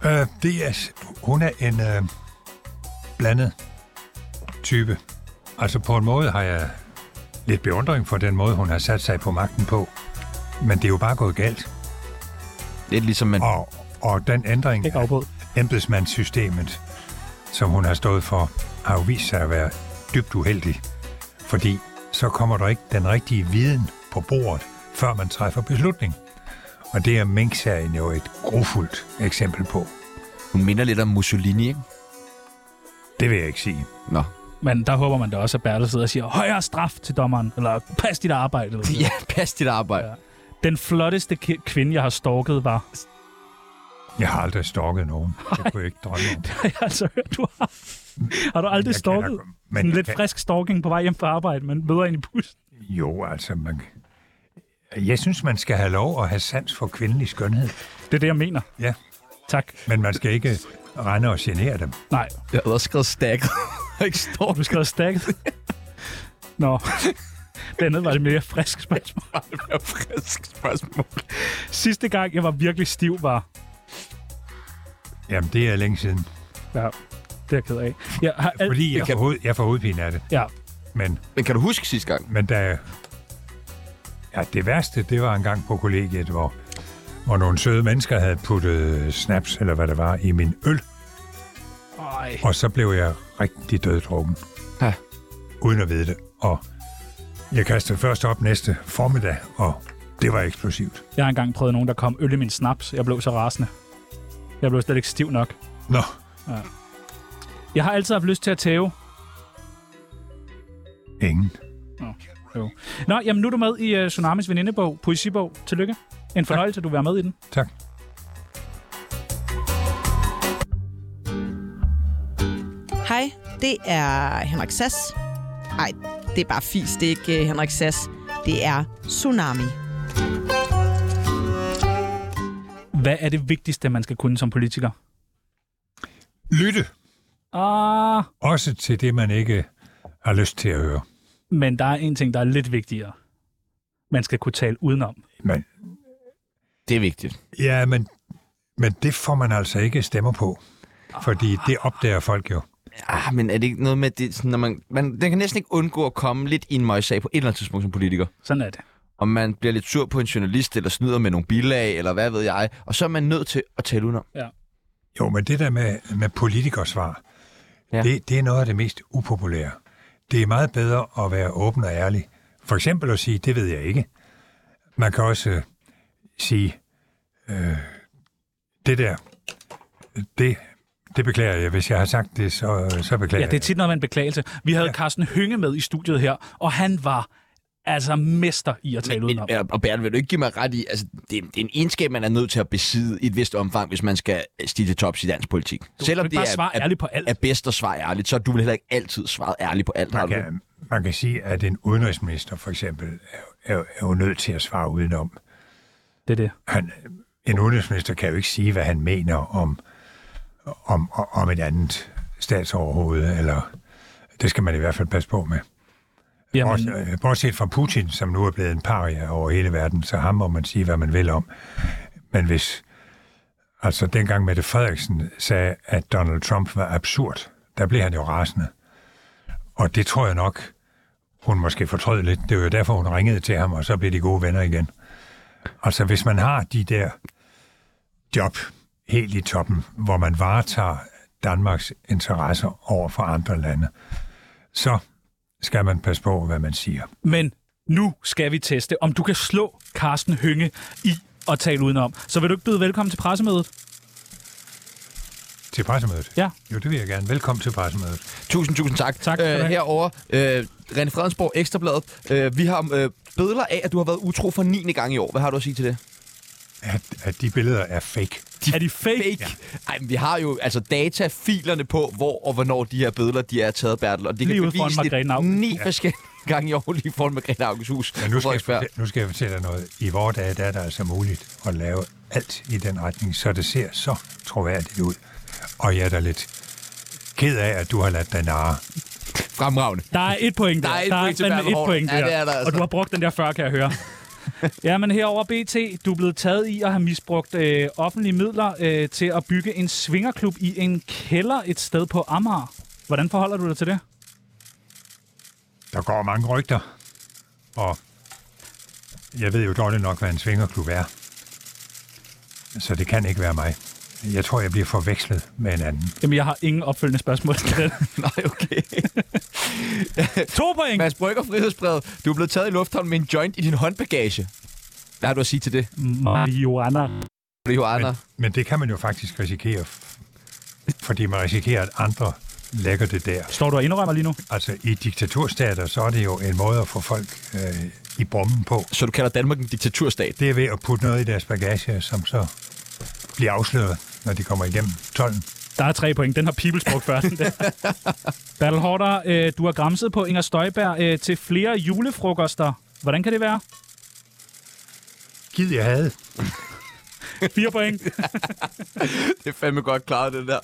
Øh, det er, s- hun er en øh, blandet type. Altså på en måde har jeg lidt beundring for den måde, hun har sat sig på magten på. Men det er jo bare gået galt. lidt ligesom man... Og, og den ændring Ikke afbrud. embedsmandssystemet, som hun har stået for, har jo vist sig at være dybt uheldig. Fordi så kommer der ikke den rigtige viden på bordet, før man træffer beslutning. Og det er Mink-sagen jo et grofuldt eksempel på. Hun minder lidt om Mussolini, ikke? Det vil jeg ikke sige. Nå. Men der håber man da også, at Bertel sidder og siger, højere straf til dommeren, eller pas dit arbejde. Eller sådan Ja, pas dit arbejde. Ja. Den flotteste ki- kvinde, jeg har stalket, var... [laughs] Jeg har aldrig stalket nogen. Det kunne jeg ikke drømme om. Jeg har altså hørt, du har... Har du aldrig Jeg kender stalket? kun- men Men en jeg lidt kan- frisk stalking på vej hjem fra arbejde, men møder ind i bussen. [laughs] Jo, altså, man... Jeg synes, man skal have lov at have sans for kvindelig skønhed. Det er det, jeg mener. Ja, Tak. men man skal ikke rende og genere dem. Nej, Jeg havde også skrevet stakket. [laughs] ikke står du skal have stakket. Nå. Det andet var det mere frisk spørgsmål. med frisk spørgsmål. Sidste gang, jeg var virkelig stiv, var... Jamen, det er længe siden. Ja, det er jeg ked af. Jeg har alt... Fordi jeg, kan- kan... får, hoved, jeg får hovedpine af det. Ja, Men, Men kan du huske sidste gang? men da... Ja, det værste, det var en gang på kollegiet, hvor, hvor nogle søde mennesker havde puttet snaps, eller hvad det var, i min øl. Ej. Og så blev jeg rigtig døddrukken. Ja. Uden at vide det. Og jeg kastede først op næste formiddag, og det var eksplosivt. jeg har engang prøvet nogen, der kom øl i min snaps. Jeg blev så rasende. Jeg blev slet ikke stiv nok. Nå, Jeg har altid haft lyst til at tæve. ingen. Jo. Nå, jamen nu er du med i uh, Tsunamis venindebog, poesibog. Tillykke. En fornøjelse, at du vil være med i den. Tak. Hej, det er Henrik Sass. Nej, det er bare fis, det er ikke øh, Henrik Sass. Det er Tsunami. Hvad er det vigtigste, man skal kunne som politiker? Lytte. Ah, Også til det, man ikke har lyst til at høre. men der er en ting, der er lidt vigtigere. Man skal kunne tale udenom. Men, Det er vigtigt. ja, men, men det får man altså ikke stemmer på. Fordi det opdager folk jo. Ah, men er det ikke noget med, det, sådan, når man, man, den kan næsten ikke undgå at komme lidt i en møgssag på et eller andet tidspunkt som politiker. Sådan er det. Om man bliver lidt sur på en journalist, eller snyder med nogle bilag, eller hvad ved jeg. Og så er man nødt til at tale udenom. Jo, men det der med, med politikersvar, Ja. ja. det, det er noget af det mest upopulære. Det er meget bedre at være åben og ærlig. For eksempel at sige, det ved jeg ikke. Man kan også øh, sige, øh, det der, det, det beklager jeg. Hvis jeg har sagt det, så, så beklager Ja, det er tit noget med en beklagelse. Vi havde ja. Carsten Hynge med i studiet her, og han var altså mester i at tale Men, udenom. men, og Bernd, vil du ikke give mig ret i, altså, det, er- det er en egenskab, man er nødt til at besidde i et vist omfang, hvis man skal stige til tops i dansk politik. Du ikke bare svare ærligt på alt. er bedst at svare ærligt, så er du vil heller ikke altid svare ærligt på alt. har man du? kan, man kan sige, at en udenrigsminister for eksempel er, er, er jo nødt til at svare udenom. Det er det. Han, en udenrigsminister kan jo ikke sige, hvad han mener om, om, om et andet statsoverhoved, eller det skal man i hvert fald passe på med. Bortset, Jamen, øh, bortset fra Putin, som nu er blevet en paria over hele verden, så ham må man sige, hvad man vil om. Men hvis... Altså, dengang Mette Frederiksen sagde, at Donald Trump var absurd, der blev han jo rasende. Og det tror jeg nok, hun måske fortrød lidt. Det var jo derfor, hun ringede til ham, og så blev de gode venner igen. Altså, hvis man har de der job helt i toppen, hvor man varetager Danmarks interesser over for andre lande, så skal man passe på, hvad man siger. men nu skal vi teste, om du kan slå Carsten Hynge i at tale udenom. Så vil du ikke byde velkommen til pressemødet? Til pressemødet? Ja. Jo, det vil jeg gerne. Velkommen til pressemødet. Tusind, tusind tak. Tak skal du Øh, have. herovre, øh, René Fredensborg, Ekstrabladet. Øh, vi har øh, billeder af, at du har været utro for 9. gang i år. Hvad har du at sige til det? At, at de billeder er fake. De er de fake? Fake. Ja. Ej, men vi har jo altså datafilerne på, hvor og hvornår de her billeder de er taget, Bertel. Og det Lige kan ude foran beviseligt Margrethe Auken. ni ja. forskellige [laughs] gange i år, lige foran Margrethe Aukens hus. Men nu på skal, jeg Frederiksberg. fortælle, nu skal jeg fortælle dig noget. I vores dage der er det altså muligt at lave alt i den retning, så det ser så troværdigt ud. Og jeg er da lidt ked af, at du har ladt dig narre. Fremragende. [laughs] Der er et point der. Der er et point til fandme Bertel et Haarder. point der. Ja, det er der altså. Og du har brugt den der før, kan jeg [laughs] høre. ja, men herover BT, du er blevet taget i at have misbrugt øh, offentlige midler øh, til at bygge en svingerklub i en kælder et sted på Amager. Hvordan forholder du dig til det? Der går mange rygter, og jeg ved jo dårligt nok, hvad en svingerklub er. Så det kan ikke være mig. Jeg tror, jeg bliver forvekslet med en anden. Jamen, jeg har ingen opfølgende spørgsmål til [laughs] det. Nej, okay. to point! Mads Brygger, Frihedsbrevet. Du er blevet taget i lufthavnen med en joint i din håndbagage. Hvad har du at sige til det? Marihuana. Det er jo Anna. Men, men det kan man jo faktisk risikere, f- fordi man risikerer, at andre lægger det der. Står du og indrømmer lige nu? Altså i diktaturstater, så er det jo en måde at få folk øh, i brummen på. Så du kalder Danmark en diktaturstat? Det er ved at putte noget i deres bagage, som så bliver afsløret, når de kommer igennem tolden. Der er tre point. Den har Peoples brugt før. den [laughs] der. Bertel Hårder, øh, du har græmset på Inger Støjberg øh, til flere julefrokoster. Hvordan kan det være? Gid jeg havde. Fire [laughs] point. Det er fandme godt klaret, det der.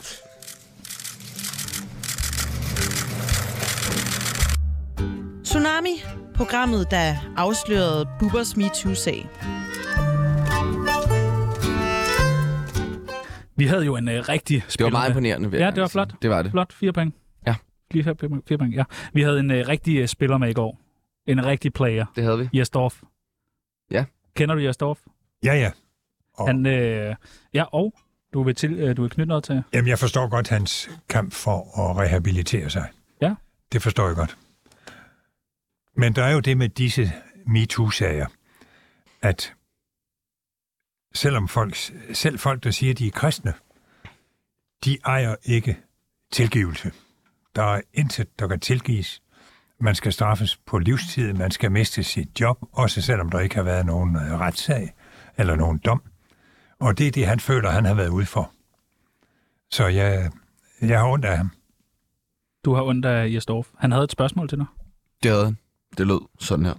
Tsunami, programmet, der afslørede Bubbers MeToo-sag. Vi havde jo en øh, rigtig Det var meget spiller med. imponerende. vil jeg Ja, det var gerne sige. flot. Det var det. Flot, fire point. Ja. Lige her, fire point- fire point, ja. Vi havde en øh, rigtig øh, spiller med i går. En rigtig player. Det havde vi. Jes Dorf. Ja. Kender du Jes Dorf? Ja, ja. Og, Han, øh, ja, og du vil, til, øh, du vil knytte noget til. Jamen, jeg forstår godt hans kamp for at rehabilitere sig. Ja. Det forstår jeg godt. Men der er jo det med disse MeToo-sager, at selvom folk, selv folk, der siger, at de er kristne, de ejer ikke tilgivelse. Der er intet, der kan tilgives. Man skal straffes på livstid, man skal miste sit job, også selvom der ikke har været nogen øh, retssag eller nogen dom. Og det er det, han føler, han har været ude for. Så jeg, jeg har ondt af ham. Du har ondt af Jes Dorf. Han havde et spørgsmål til dig. Det havde han. Det lød sådan her.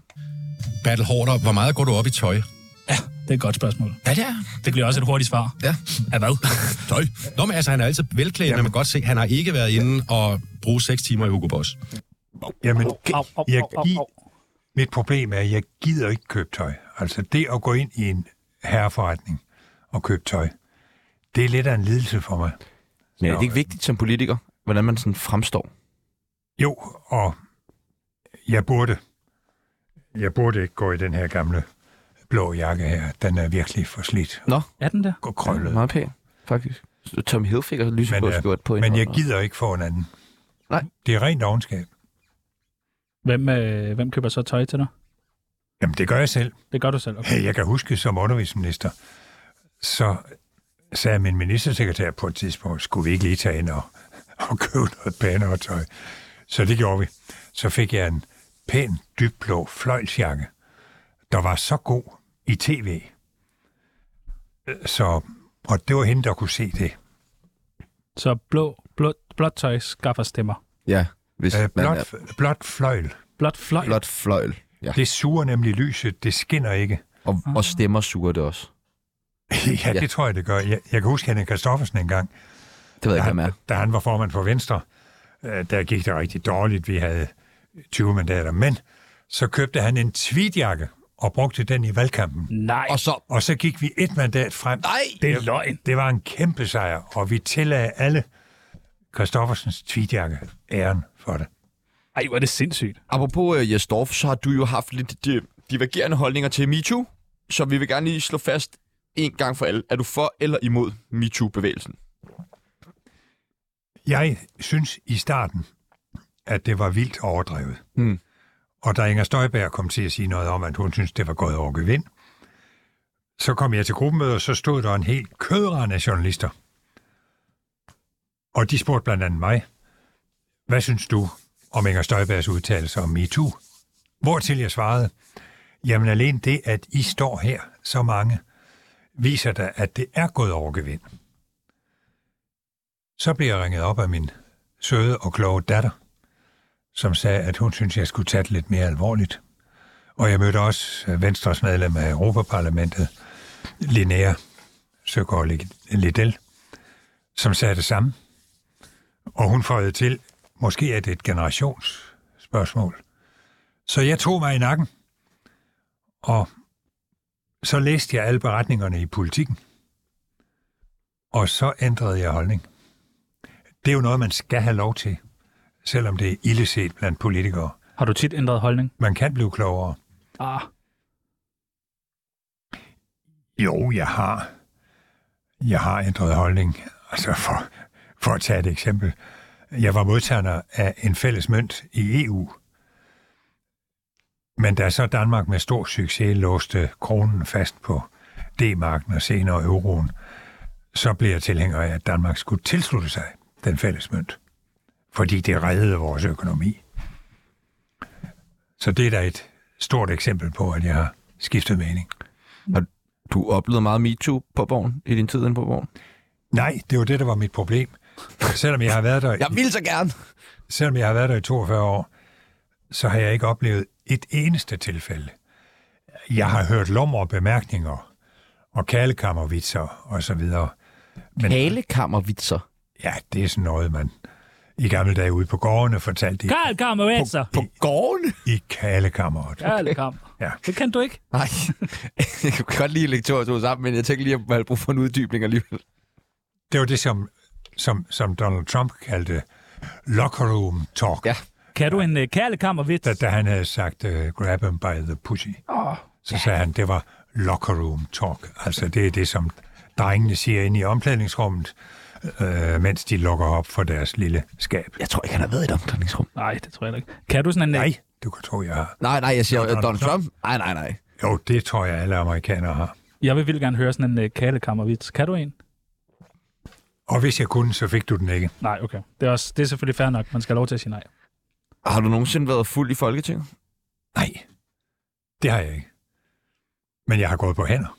Bertel Hårder, hvor meget går du op i tøj? Det er et godt spørgsmål. Ja, det er. Det bliver også et hurtigt svar. Ja. Af hvad? Tøj. Nå, men altså, han er altid velklædt, og man kan godt se, han har ikke været inde og bruge 6 timer i Hugo Boss. Jamen, Au, au, jeg, au, au, gi- au. mit problem er, at jeg gider ikke købe tøj. Altså det at gå ind i en herreforretning og købe tøj, det er lidt af en lidelse for mig. Men er det ikke vigtigt som politiker, hvordan man sådan fremstår? Jo, og jeg burde, jeg burde ikke gå i den her gamle blå jakke her. Den er virkelig forslidt Er den der? og krøllet. Meget pæn, faktisk. Tom Hilfiger har lyset Men, på øh, skjort på Men jeg indholdet. gider ikke få en anden. Nej. Det er rent ovenskab. Hvem, øh, hvem køber så tøj til dig? Jamen, det gør jeg selv. Det gør du selv. Okay. Jeg kan huske som undervisningsminister, så sagde min ministersekretær på et tidspunkt, skulle vi ikke lige tage ind og, [laughs] og købe noget pænere tøj? Så det gjorde vi. Så fik jeg en pæn, dybblå fløjlsjakke, der var så god i tv. Øh, Så, og det var hende, der kunne se det. Så blå, blå, blåt tøj skaffer stemmer. Ja, hvis Øh, man blåt, er f- blåt fløjl. Blåt fløj. blot fløjl. Ja. Det suger nemlig lyset, det skinner ikke. [laughs] Og, og stemmer suger det også. ja, Ja. det tror jeg, det gør. Jeg, jeg kan huske Henning Kristoffersen en gang, Det ved jeg da ikke, hvad man han, er. da han var formand for Venstre, øh, der gik det rigtig dårligt. Vi havde 20 mandater, men så købte han en tweedjakke og brugte den i valgkampen. Nej, Og så... Og så gik vi et mandat frem. Nej! det er løgn. Det var en kæmpe sejr, og vi tillagde alle Kristoffersens tweedjakke æren for det. Ej, hvor er det sindssygt. Apropos uh, Jesdorf, så har du jo haft lidt de, divergerende holdninger til MeToo, så vi vil gerne lige slå fast en gang for alle. Er du for eller imod MeToo-bevægelsen? Jeg synes i starten, at det var vildt overdrevet. Mm. Og da Inger Støjberg kom til at sige noget om, at hun synes, det var gået over gevind, så kom jeg til gruppemødet, og så stod der en helt kødrand af journalister. Og de spurgte blandt andet mig, hvad synes du om Inger Støjbergs udtalelse om MeToo? Hvortil jeg svarede, jamen alene det, at I står her, så mange, viser da, at det er gået over gevind. Så blev jeg ringet op af min søde og kloge datter, som sagde, at hun synes, jeg skulle tage det lidt mere alvorligt. Og jeg mødte også øh, Venstres medlem af Europaparlamentet, Linnea Søgaard Lig- Liddell, som sagde det samme. Og hun føjede til, måske er det et generationsspørgsmål. Så jeg tog mig i nakken, og så læste jeg alle beretningerne i politikken, og så ændrede jeg holdning. Det er jo noget, man skal have lov til, selvom det er illeset blandt politikere. Har du tit ændret holdning? Man kan blive klogere. Ah, Jo, jeg har. Jeg har ændret holdning. Altså for, for at tage et eksempel. Jeg var modtager af en fælles mønt i EU. Men da så Danmark med stor succes låste kronen fast på D-marken og senere euroen, så blev jeg tilhænger af, at Danmark skulle tilslutte sig den fælles mønt. Fordi det reddede vores økonomi. Så det er da et stort eksempel på, at jeg har skiftet mening. Du oplevede meget MeToo på borgen, i din tid inde på borgen. Nej, det var det, der var mit problem. Selvom jeg har været der, Jeg i, vil så gerne! selvom jeg har været der i 42 år, så har jeg ikke oplevet et eneste tilfælde. Jeg har hørt lumre bemærkninger og kalekammervitser og så videre. Men Halekammervitser. ja, det er sådan noget, man i gamle dage ude på gårdene fortalte i, Karl Kammeretzer! På gården? i kalekammeret. Karl Kam. Ja. Det kan du ikke. Nej, [laughs] jeg kan godt lide at lægge to og to sammen, men jeg tænker lige, at man har brug for en uddybning alligevel. Det var det, som, som, som Donald Trump kaldte locker room talk, Ja. Kan du en uh, Karl Kammervits? da, da han havde sagt uh, grab him by the pussy. Oh, Så sagde han, det var locker room talk. Altså det er det, som drengene siger inde i omklædningsrummet, øh, mens de lukker op for deres lille skab. Jeg tror ikke, han har været i et omklædningsrum. nej, det tror jeg ikke. Kan du sådan en... øh, Nej, du kan tro, jeg har. Nej, nej, jeg siger Donald Donald, Donald Trump. Nej, nej, nej. Jo, det tror jeg, alle amerikanere har. Jeg vil vildt gerne høre sådan en uh, Karl Kammervits. Kan du en? Og hvis jeg kunne, så fik du den ikke. Nej, okay. Det er, også, det er selvfølgelig fair nok. Man skal have lov til at sige nej. Har du nogensinde været fuld i Folketinget? Nej, det har jeg ikke. Men jeg har gået på hænder.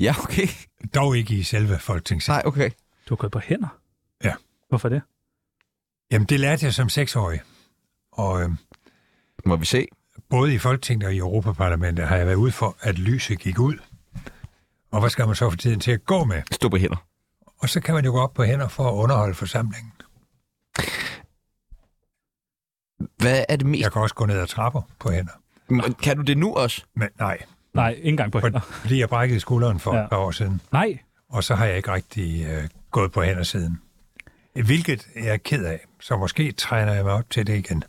Ja, okay. Dog ikke i selve folketingssalen. Nej, okay. Du har gået på hænder? Ja. Hvorfor det? Jamen, det lærte jeg som seksårig. Og øh, Må vi se. både i Folketinget og i Europaparlamentet har jeg været ude for, at lyset gik ud. Og hvad skal man så få tiden til at gå med? Stå på hænder. Og så kan man jo gå op på hænder for at underholde forsamlingen. Hvad er det mest? Jeg kan også gå ned ad trapper på hænder. Men Kan du det nu også? Men nej, Nej, ikke engang på for- hænder. fordi jeg brækkede skulderen for ja. Ja. et par år siden, Nej. og så har jeg ikke rigtig øh, gået på hænder siden. Hvilket jeg er ked af, så måske træner jeg mig op til det igen.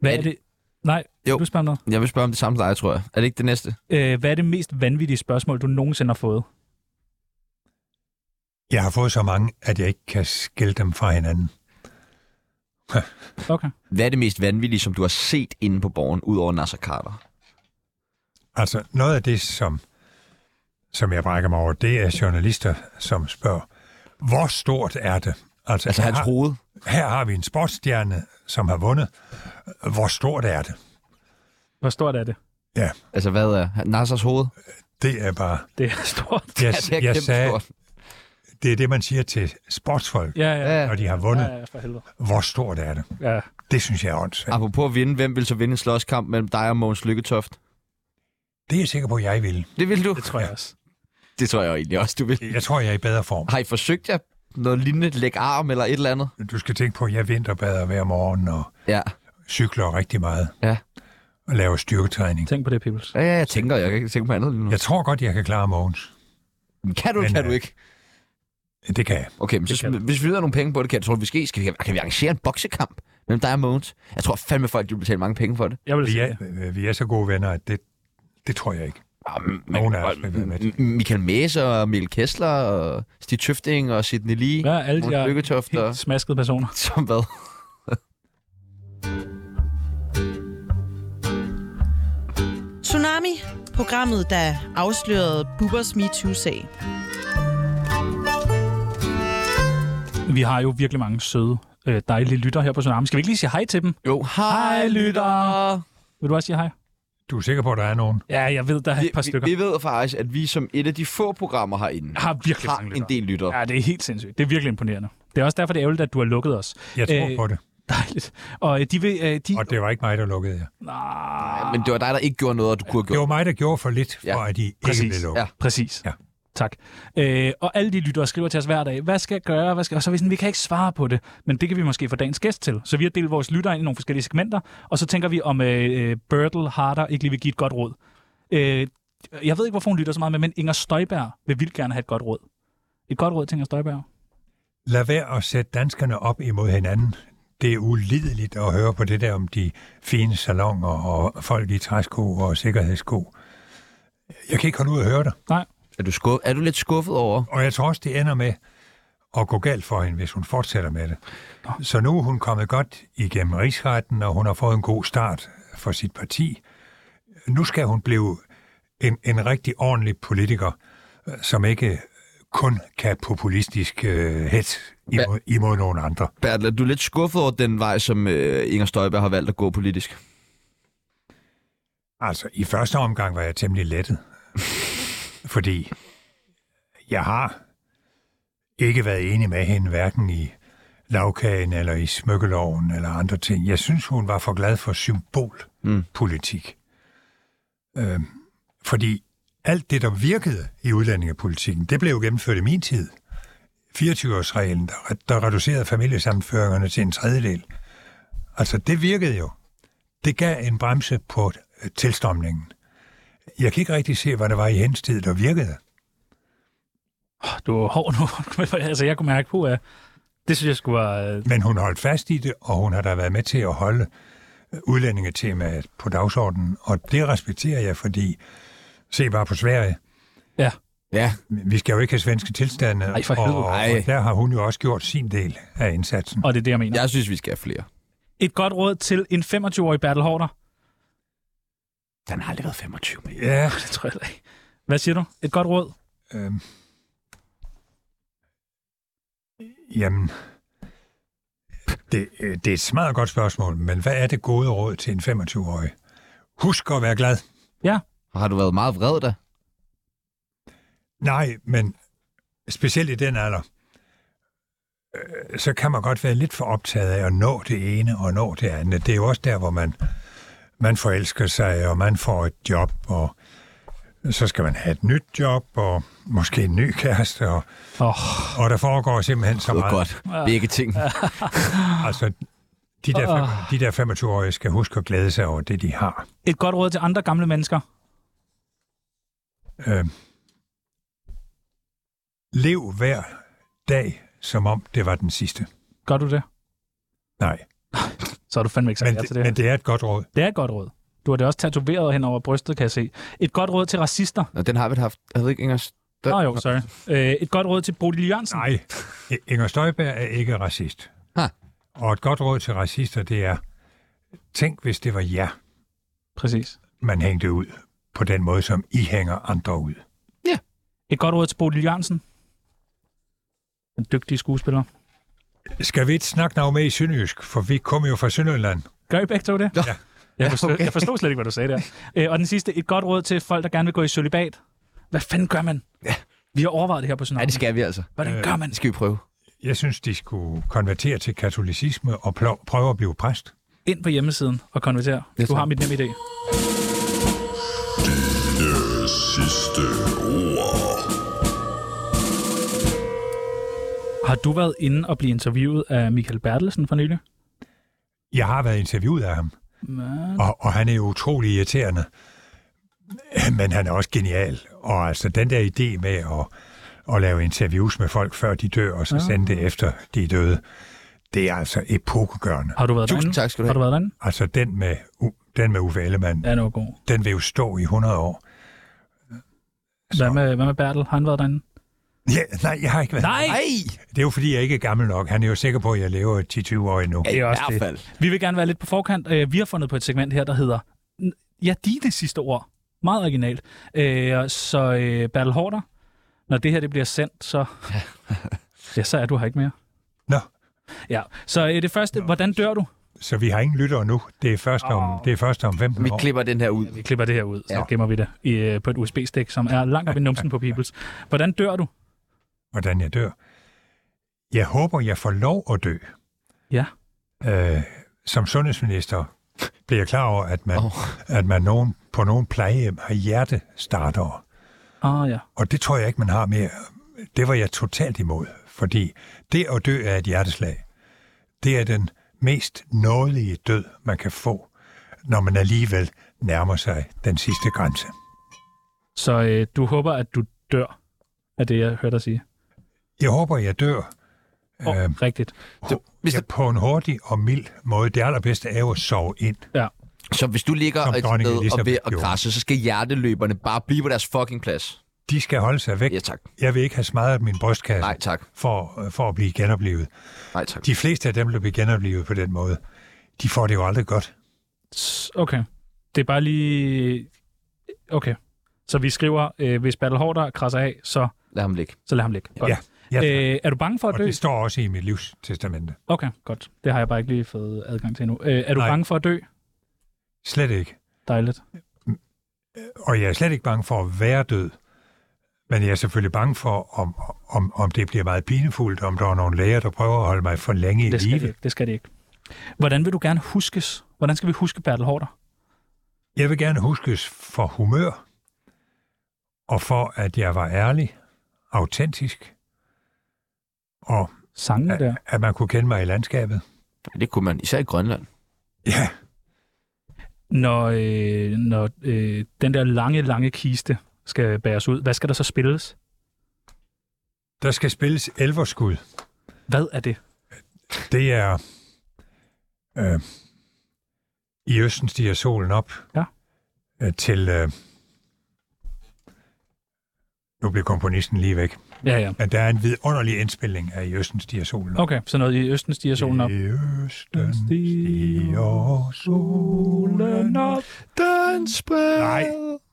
Hvad Er er det? Nej, Jo. jo. du spørger om noget. Jeg vil spørge om det samme som dig, tror jeg. Er det ikke det næste? Øh, hvad er det mest vanvittige spørgsmål, du nogensinde har fået? Jeg har fået så mange, at jeg ikke kan skille dem fra hinanden. Okay. Hvad er det mest vanvittige, som du har set Altså, inde på borgen, ud over Nasser Carter? Altså noget af det, som som jeg brækker mig over, det er journalister, som spørger, hvor stort er det? Altså her hans har- hoved. her har vi en sportsstjerne, som har vundet. Hvor stort er det? Hvor stort er det? Ja, Altså, hvad er Nassers hoved? det er [laughs] bare... Det er stort. Jeg, Ja, det er jeg kæmpe sagde, stort. det er det, man siger til sportsfolk, Ja, ja. Ja. når de har Ja, vundet. ja, for helvede. Hvor stort er det? Ja. Det synes jeg er åndssvagt. Apropos at vinde, hvem vil så vinde en slåskamp mellem dig og Mogens Lykketoft? Det er jeg sikker på, at jeg vil. Det vil du. Det tror jeg også. [laughs] Det tror jeg jo egentlig også, du vil. Jeg tror, jeg er i bedre form. Har I forsøgt jer noget lignende? Læg arm eller et eller andet? Du skal tænke på, at jeg vinterbader hver morgen og Ja. cykler rigtig meget. Ja. Og laver styrketræning. Tænk på det, Peoples. Ja, ja, jeg tænker, jeg kan ikke tænke på andet lige nu. Jeg tror godt, jeg kan klare Mogens. Kan du, Men, kan du øh, ikke? Det kan jeg. Okay, men så, sm- hvis vi yder nogle penge på det, kan, tror du, vi skal, skal vi, kan vi arrangere en boksekamp mellem dig og Mogens? Jeg tror fandme folk, de vil betale mange penge for det. Jeg vil Vi sige det. er, øh, vi er så gode venner, at det, det tror jeg ikke. Jamen, Nogen af os vil være med. Ah, M- Michael Mæs og Mikkel Kessler og Stig Tøfting og Sidney Lee. Ja, alle de Mogens her Lykketoft og... helt smaskede personer. Som hvad? Tsunami, programmet, der afslørede Bubbers MeToo-sag. Vi har jo virkelig mange søde, øh, dejlige lytter her på Tsunami. Skal vi ikke lige sige hej til dem? Jo, hej lytter! Vil du også sige hej? Du er sikker på, at der er nogen? Ja, jeg ved, der er et par Vi, stykker. vi, vi ved faktisk, at vi som et af de få programmer herinde har virkelig har mange en lytter. del lyttere. Ja, det er helt sindssygt. Det er virkelig imponerende. Det er også derfor, det er ærgerligt, at du har lukket os. Jeg tror Øh, på det. Dejligt. Og øh, de vil... Øh, de... Og det var ikke mig, der lukkede jer. Ah, Men det var dig, der ikke gjorde noget, og du kunne have Det gjort. var mig, der gjorde for lidt, for Ja, at de ikke præcis. blev lukket. Ja. Præcis. Ja. Tak. Øh, og alle de lyttere skriver til os hver dag, hvad skal jeg gøre? Hvad skal... Og så er vi sådan, vi kan ikke svare på det, men det kan vi måske få dagens gæst til. Så vi har delt vores lyttere ind i nogle forskellige segmenter, og så tænker vi, om øh, øh, Bertel Harder ikke lige vil give et godt råd. Øh, jeg ved ikke, hvorfor hun lytter så meget med, men Inger Støjberg vil vildt gerne have et godt råd. Et godt råd til Inger Støjberg. Lad være at sætte danskerne op imod hinanden. Det er ulideligt at høre på det der om de fine salonger og folk i træsko og sikkerhedssko. Jeg kan ikke holde ud at høre det. Er du, skuff, er du lidt skuffet over? Og jeg tror også, det ender med at gå galt for hende, hvis hun fortsætter med det. Så nu er hun kommet godt igennem rigsretten, og hun har fået en god start for sit parti. Nu skal hun blive en, en rigtig ordentlig politiker, øh, som ikke kun kan populistisk øh, hets imod, imod nogen andre. Bertel, er du lidt skuffet over den vej, som øh, Inger Støjberg har valgt at gå politisk? Altså, i første omgang var jeg temmelig lettet, fordi jeg har ikke været enig med hende, hverken i lavkagen eller i smykkeloven eller andre ting. Jeg synes, hun var for glad for symbolpolitik. Mm. Øhm, fordi alt det, der virkede i udlændingepolitikken, det blev jo gennemført i min tid. 24-årsreglen, der, re- der reducerede familiesammenføringerne til en tredjedel. Altså, det virkede jo det gav en bremse på øh, tilstrømningen. Jeg kan ikke rigtig se, hvad der var i hendes tid, der virkede. Åh, Du er hård nu. [laughs] altså, jeg kunne mærke, på, at det synes jeg øh, skulle være... Men hun holdt fast i det, og hun har da været med til at holde øh, udlændingetemaet på dagsordenen, og det respekterer jeg, fordi se bare på Sverige. Ja. Ja. Vi skal jo ikke have svenske tilstande, Ej, for og, helvede. og, Ej. og der har hun jo også gjort sin del af indsatsen. Og det er det, jeg mener. Jeg synes, vi skal have flere. Et godt råd til en 25-årig Bertel Hårder. Den har aldrig været 25 med. Ja, [laughs] Det tror jeg heller ikke. Hvad siger du? Et godt råd? Øhm. Jamen, det, øh, det er et smadret godt spørgsmål, men hvad er det gode råd til en 25-årig? Husk at være glad. Har du været meget vred da? Nej, men specielt i den alder, øh, så kan man godt være lidt for optaget af at nå det ene og nå det andet. Det er jo også der, hvor man, man forelsker sig, og man får et job, og så skal man have et nyt job, og måske en ny kæreste, og, Åh, og der foregår simpelthen så Det var meget. godt. Begge ting. Altså, de der, fem- de der 25-årige skal huske at glæde sig over det, de har. Et godt råd til andre gamle mennesker. Øh, lev hver dag, som om det var den sidste. Gør du det? Nej, Så er du fandme ikke sagt men, ja til det, det. men her. det er et godt råd. Det er et godt råd. Du har det også tatoveret hen over brystet, kan jeg se. Et godt råd til racister. Nå, den har vi da haft. Jeg ved ikke, Inger Støj... Nå jo, sorry. Øh, et godt råd til Bodil Jørgensen. Nej, I- Inger Støjberg er ikke racist. Ha. Og et godt råd til racister, det er, tænk hvis det var jer, Præcis. man hængte ud på den måde, som I hænger andre ud. Et godt råd til Bodil Jørgensen. Den dygtige skuespiller. Skal vi ikke snakke noget med i Sønderjysk, for vi kommer jo fra Sønderjylland. Gør I begge to det? Ja. Jeg forstod, okay. jeg forstod slet ikke, hvad du sagde der. Æ, og den sidste, et godt råd til folk, der gerne vil gå i sølibat. Hvad fanden gør man? Ja. Vi har overvejet det her på Ja, Tsunami. det skal vi altså. Hvordan gør man? Det skal vi prøve. Jeg synes, de skulle konvertere til katolicisme og plå- prøve at blive præst. Ind på hjemmesiden og konvertere. Yes, Du har tak. mit nem idé. Har du været inde og blive interviewet af Michael Bertelsen for nylig? Jeg har været interviewet af ham, Hvad? og, og han er jo utrolig irriterende. Men han er også genial. Og altså, den der idé med at, at lave interviews med folk, før de dør, Ah. og så sende det efter, de er døde, det er altså epokegørende. Har du været Tusind derinde? tak skal du Har du have. været derinde? Altså, den med, U- den med Uffe Ellemann, Ja, det var god. den vil jo stå i 100 år. Hvad med, hvad med Bertel? Har han været derinde? Ja, nej, jeg har ikke været Nej! Ej! Det er jo fordi, jeg ikke er gammel nok. Han er jo sikker på, at jeg lever 10-20 år endnu. Ja, Det I er også hvert det. fald. Vi vil gerne være lidt på forkant. Øh, Vi har fundet på et segment her, der hedder N- Ja, dine sidste ord. Meget originalt. Øh, Så øh, Bertel Hårder, når det her det bliver sendt, så... Ja, så er du her ikke mere. Nå, Ja, så øh, det første, hvordan dør du? så vi har ingen lyttere nu. Det er først om, det er først om 15 Vi år. klipper den her ud. Vi klipper det her ud, så Ja. gemmer vi det i, øh, på et USB-stik, som er langt op i numsen på Peoples. Hvordan dør du? hvordan jeg dør. Jeg håber, jeg får lov at dø. Ja. Øh, som sundhedsminister bliver jeg klar over, at man, Åh. oh. at man nogen, på nogle plejehjem har hjertestarter. Åh oh, ja. Og det tror jeg ikke, man har mere. Det var jeg totalt imod, fordi det at dø af et hjerteslag, det er den mest nådelige død, man kan få, når man alligevel nærmer sig den sidste grænse. Så øh, du håber, at du dør, er det, jeg hørte dig sige. Jeg håber, jeg dør Oh, Øhm. Rigtigt. Hvis ja, der- på en hurtig og mild måde. Det allerbedste er jo at sove ind. Ja. Så hvis du ligger Som et dronning sted og er ved Elizabeth at gjorde. krasse, så skal hjerteløberne bare blive på deres fucking plads. De skal holde sig væk. Ja, tak. Jeg vil ikke have smadret min brystkasse Nej, tak. for, for at blive genoplevet. Nej, tak. De fleste af dem, der bliver genoplevet på den måde, de får det jo aldrig godt. S- Okay. Det er bare lige... Okay. Så vi skriver, øh, hvis Battle Hårder krasser af, så, Lad ham ligge. så lad ham ligge. Godt. Ja, ja tak. Øh, er du bange for at og dø? det står også i mit livs testamente. Okay, godt. Det har jeg bare ikke lige fået adgang til endnu. Øh, er du Nej. bange for at dø? Slet ikke. Dejligt. Og jeg er slet ikke bange for at være død. Men jeg er selvfølgelig bange for, om, om, om det bliver meget pinefuldt, om der er nogle læger, der prøver at holde mig for længe i Det skal det live. ikke. Det skal det ikke. Hvordan vil du gerne huskes? Hvordan skal vi huske Bertel Hårder? Jeg vil gerne huskes for humør, og for, at jeg var ærlig, autentisk, og Sangene der. at, at man kunne kende mig i landskabet. Det kunne man, især i Grønland. Ja, Når, øh, når øh, den der lange, lange kiste skal bæres ud, hvad skal der så spilles? der skal spilles elverskud. Hvad er det? Det er... Øh, I østen stiger solen op Ja. øh, til... Øh, nu blev komponisten lige væk. Ja, ja. Men der er en vidunderlig indspilning af I østen stiger solen op. Okay, så noget i Østen stiger solen op. I østen stiger solen op. Den spred. Nej,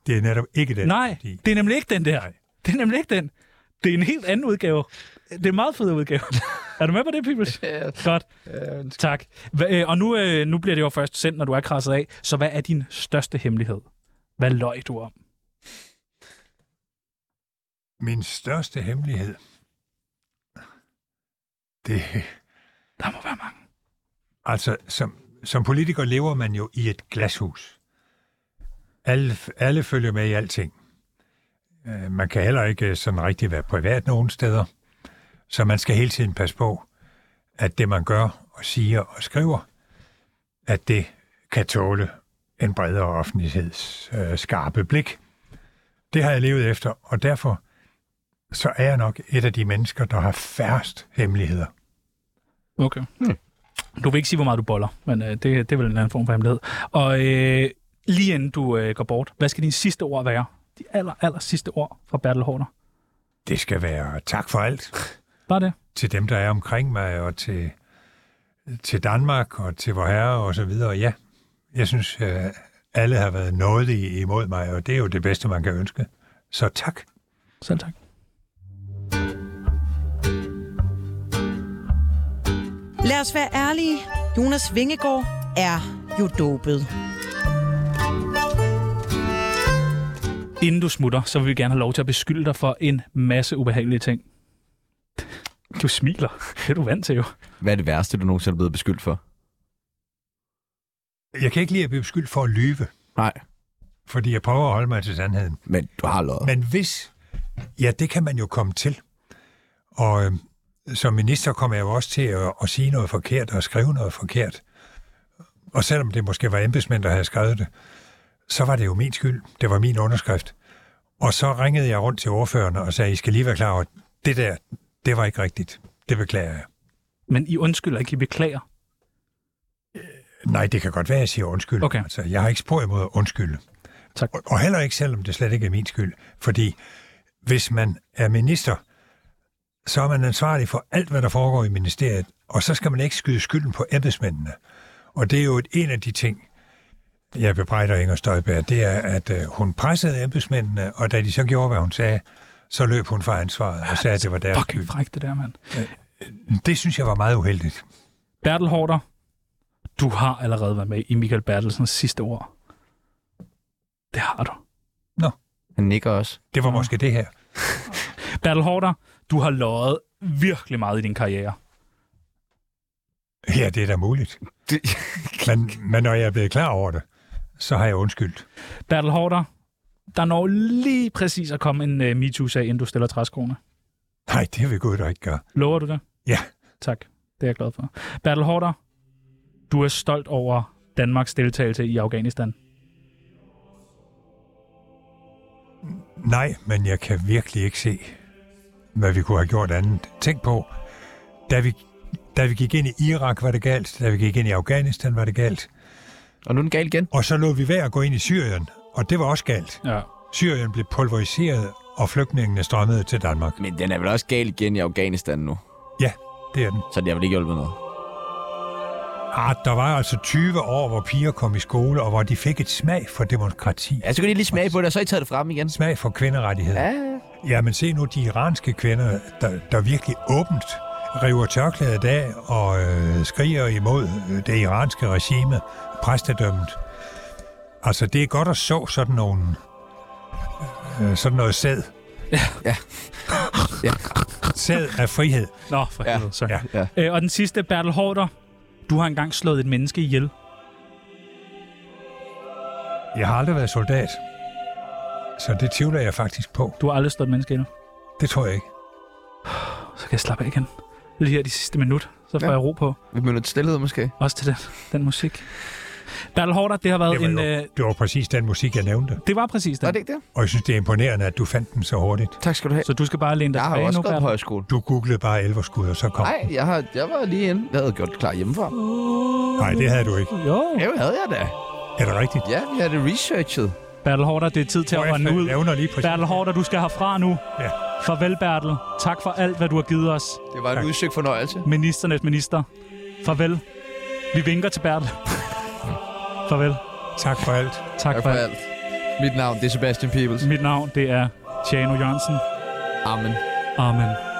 det er netop ikke den. Nej, fordi- det er nemlig ikke den der. Det er nemlig ikke den. Det er en helt anden udgave. Det er en meget fed udgave. er du med på det, Peoples? Godt. Tak. Hva, øh, og nu, øh, nu bliver det jo først sendt, når du er krasset af. Så hvad er din største hemmelighed? Hvad løj du om? Min største hemmelighed, det Der må være mange. altså, som, som politiker lever man jo i et glashus. Alle, alle følger med i alting. Øh, Man kan heller ikke sådan rigtig være privat nogen steder, så man skal hele tiden passe på, at det man gør og siger og skriver, at det kan tåle en bredere offentligheds øh, skarpe blik. Det har jeg levet efter, og derfor så er jeg nok et af de mennesker, der har færrest hemmeligheder. Okay. Du vil ikke sige, hvor meget du boller, men øh, det, det er vel en eller anden form for hemmelighed. Og øh, lige inden du øh, går bort, hvad skal dine sidste ord være? De aller, aller sidste ord fra Bertel Hårder. Det skal være tak for alt. Bare det. til dem, der er omkring mig, og til, til Danmark, og til vor herre, og så videre. Ja, jeg synes, øh, alle har været nådige imod mig, og det er jo det bedste, man kan ønske. Så tak. Selv tak. Lad os være ærlige. Jonas Vingegaard er jo dopet. Inden du smutter, så vil vi gerne have lov til at beskylde dig for en masse ubehagelige ting. Du smiler. Det er du vant til jo. Hvad er det værste, du nogensinde er blevet beskyldt for? Jeg kan ikke lide at blive beskyldt for at lyve, Nej, fordi jeg prøver at holde mig til sandheden. men du har løjet. Men hvis... Ja, det kan man jo komme til. Og øh, som minister kommer jeg jo også til at, at sige noget forkert og skrive noget forkert. Og selvom det måske var embedsmænd, der havde skrevet det, så var det jo min skyld. Det var min underskrift. Og så ringede jeg rundt til ordførerne og sagde, I skal lige være klar over, at det der, det var ikke rigtigt. Det beklager jeg. Men I undskylder ikke, I beklager. Nej, det kan godt være, at jeg siger undskyld. Okay. Altså, jeg har ikke spor imod at undskylde. Tak. Og, og heller ikke, selvom det slet ikke er min skyld. Fordi hvis man er minister, så er man ansvarlig for alt, hvad der foregår i ministeriet, og så skal man ikke skyde skylden på embedsmændene. Og det er jo et, en af de ting, jeg bebrejder Inger Støjberg, det er, at øh, hun pressede embedsmændene, og da de så gjorde, hvad hun sagde, så løb hun fra ansvaret og sagde, at det var deres Fucking skyld. fræk, det der, mand. Det synes jeg var meget uheldigt. Bertel Hårder, du har allerede været med i Michael Bertelsens sidste ord. Det har du. Han nikker også. Det Mm. var måske det her. Bertel Hårder, du har løjet virkelig meget i din karriere. Ja, det er da muligt. Det- men, men når jeg er blevet klar over det, så har jeg undskyldt. Bertel Hårder, der når lige præcis at komme en uh, MeToo-sag, inden du stiller træskoene. Nej, det vil Gud da ikke gøre. Lover du det? Ja. Tak. Det er jeg glad for. Bertel Hårder, du er stolt over Danmarks deltagelse i Afghanistan. Nej, men jeg kan virkelig ikke se, hvad vi kunne have gjort andet. Tænk på, da vi, da vi gik ind i Irak, var det galt. Da vi gik ind i Afghanistan, var det galt. Og nu er den gal igen. Og så lå vi ved at gå ind i Syrien, og det var også galt. Ja. Syrien blev pulveriseret, og flygtningene strømmede til Danmark. Men den er vel også gal igen i Afghanistan nu. Ja, det er den. Så det har vel ikke hjulpet noget. Ah, der var altså 20 år, hvor piger kom i skole, og hvor de fik et smag for demokrati. Ja, så kan de lige smage på det, og så har I taget det frem igen. smag for kvinderettigheder. Ja. Ja, men se nu de iranske kvinder, der, der virkelig åbent river tørklædet af og øh, skriger imod øh, det iranske regime, præstedømmet. Altså, det er godt at så sådan nogen, øh, sådan noget sæd. Ja. Ja. sæd af frihed. Nå, for Ja. helvede. Sorry. Ja. Ja. Øh, og den sidste, Bertel Hårder, du har engang slået et menneske ihjel. Jeg har aldrig været soldat, så det tvivler jeg faktisk på. Du har aldrig slået et menneske ihjel. Det tror jeg ikke. Så kan jeg slappe af igen. Lige her de sidste minut, så Ja. får ja. jeg ro på. Vi møder til stillhed måske. Også til den, den musik. Bertel Hårder, det har været Det var, en... jo, Øh, det var præcis den musik, jeg nævnte, det var præcis Var det. det ikke det? og jeg synes, det er imponerende, at du fandt den så hurtigt. Tak skal du have. Så du skal bare læne dig Jeg har jo tilbage også nu, gået på Bertel. højskole. Du googlede bare elverskud, og så kom Nej, jeg, har, jeg var lige inde. Jeg havde gjort det klar hjemmefra. Nej, det havde du ikke. Jo. Ja, det havde jeg da. Er det rigtigt? Ja, vi har det researchet. Bertel Hårder, det er tid til at Jeg runde ud. nævner lige præcis. Bertel Hårder, du skal herfra nu. Ja. Farvel, Bertel. Tak for alt, hvad du har givet os. Det var en udsøgt fornøjelse. Ministernes minister. Farvel. Vi vinker til Bertel. Farvel. Tak for alt. Tak, Tak for for alt. alt. Mit navn det er Sebastian Peebles. Mit navn, det er Tjano Jørgensen. Amen. Amen.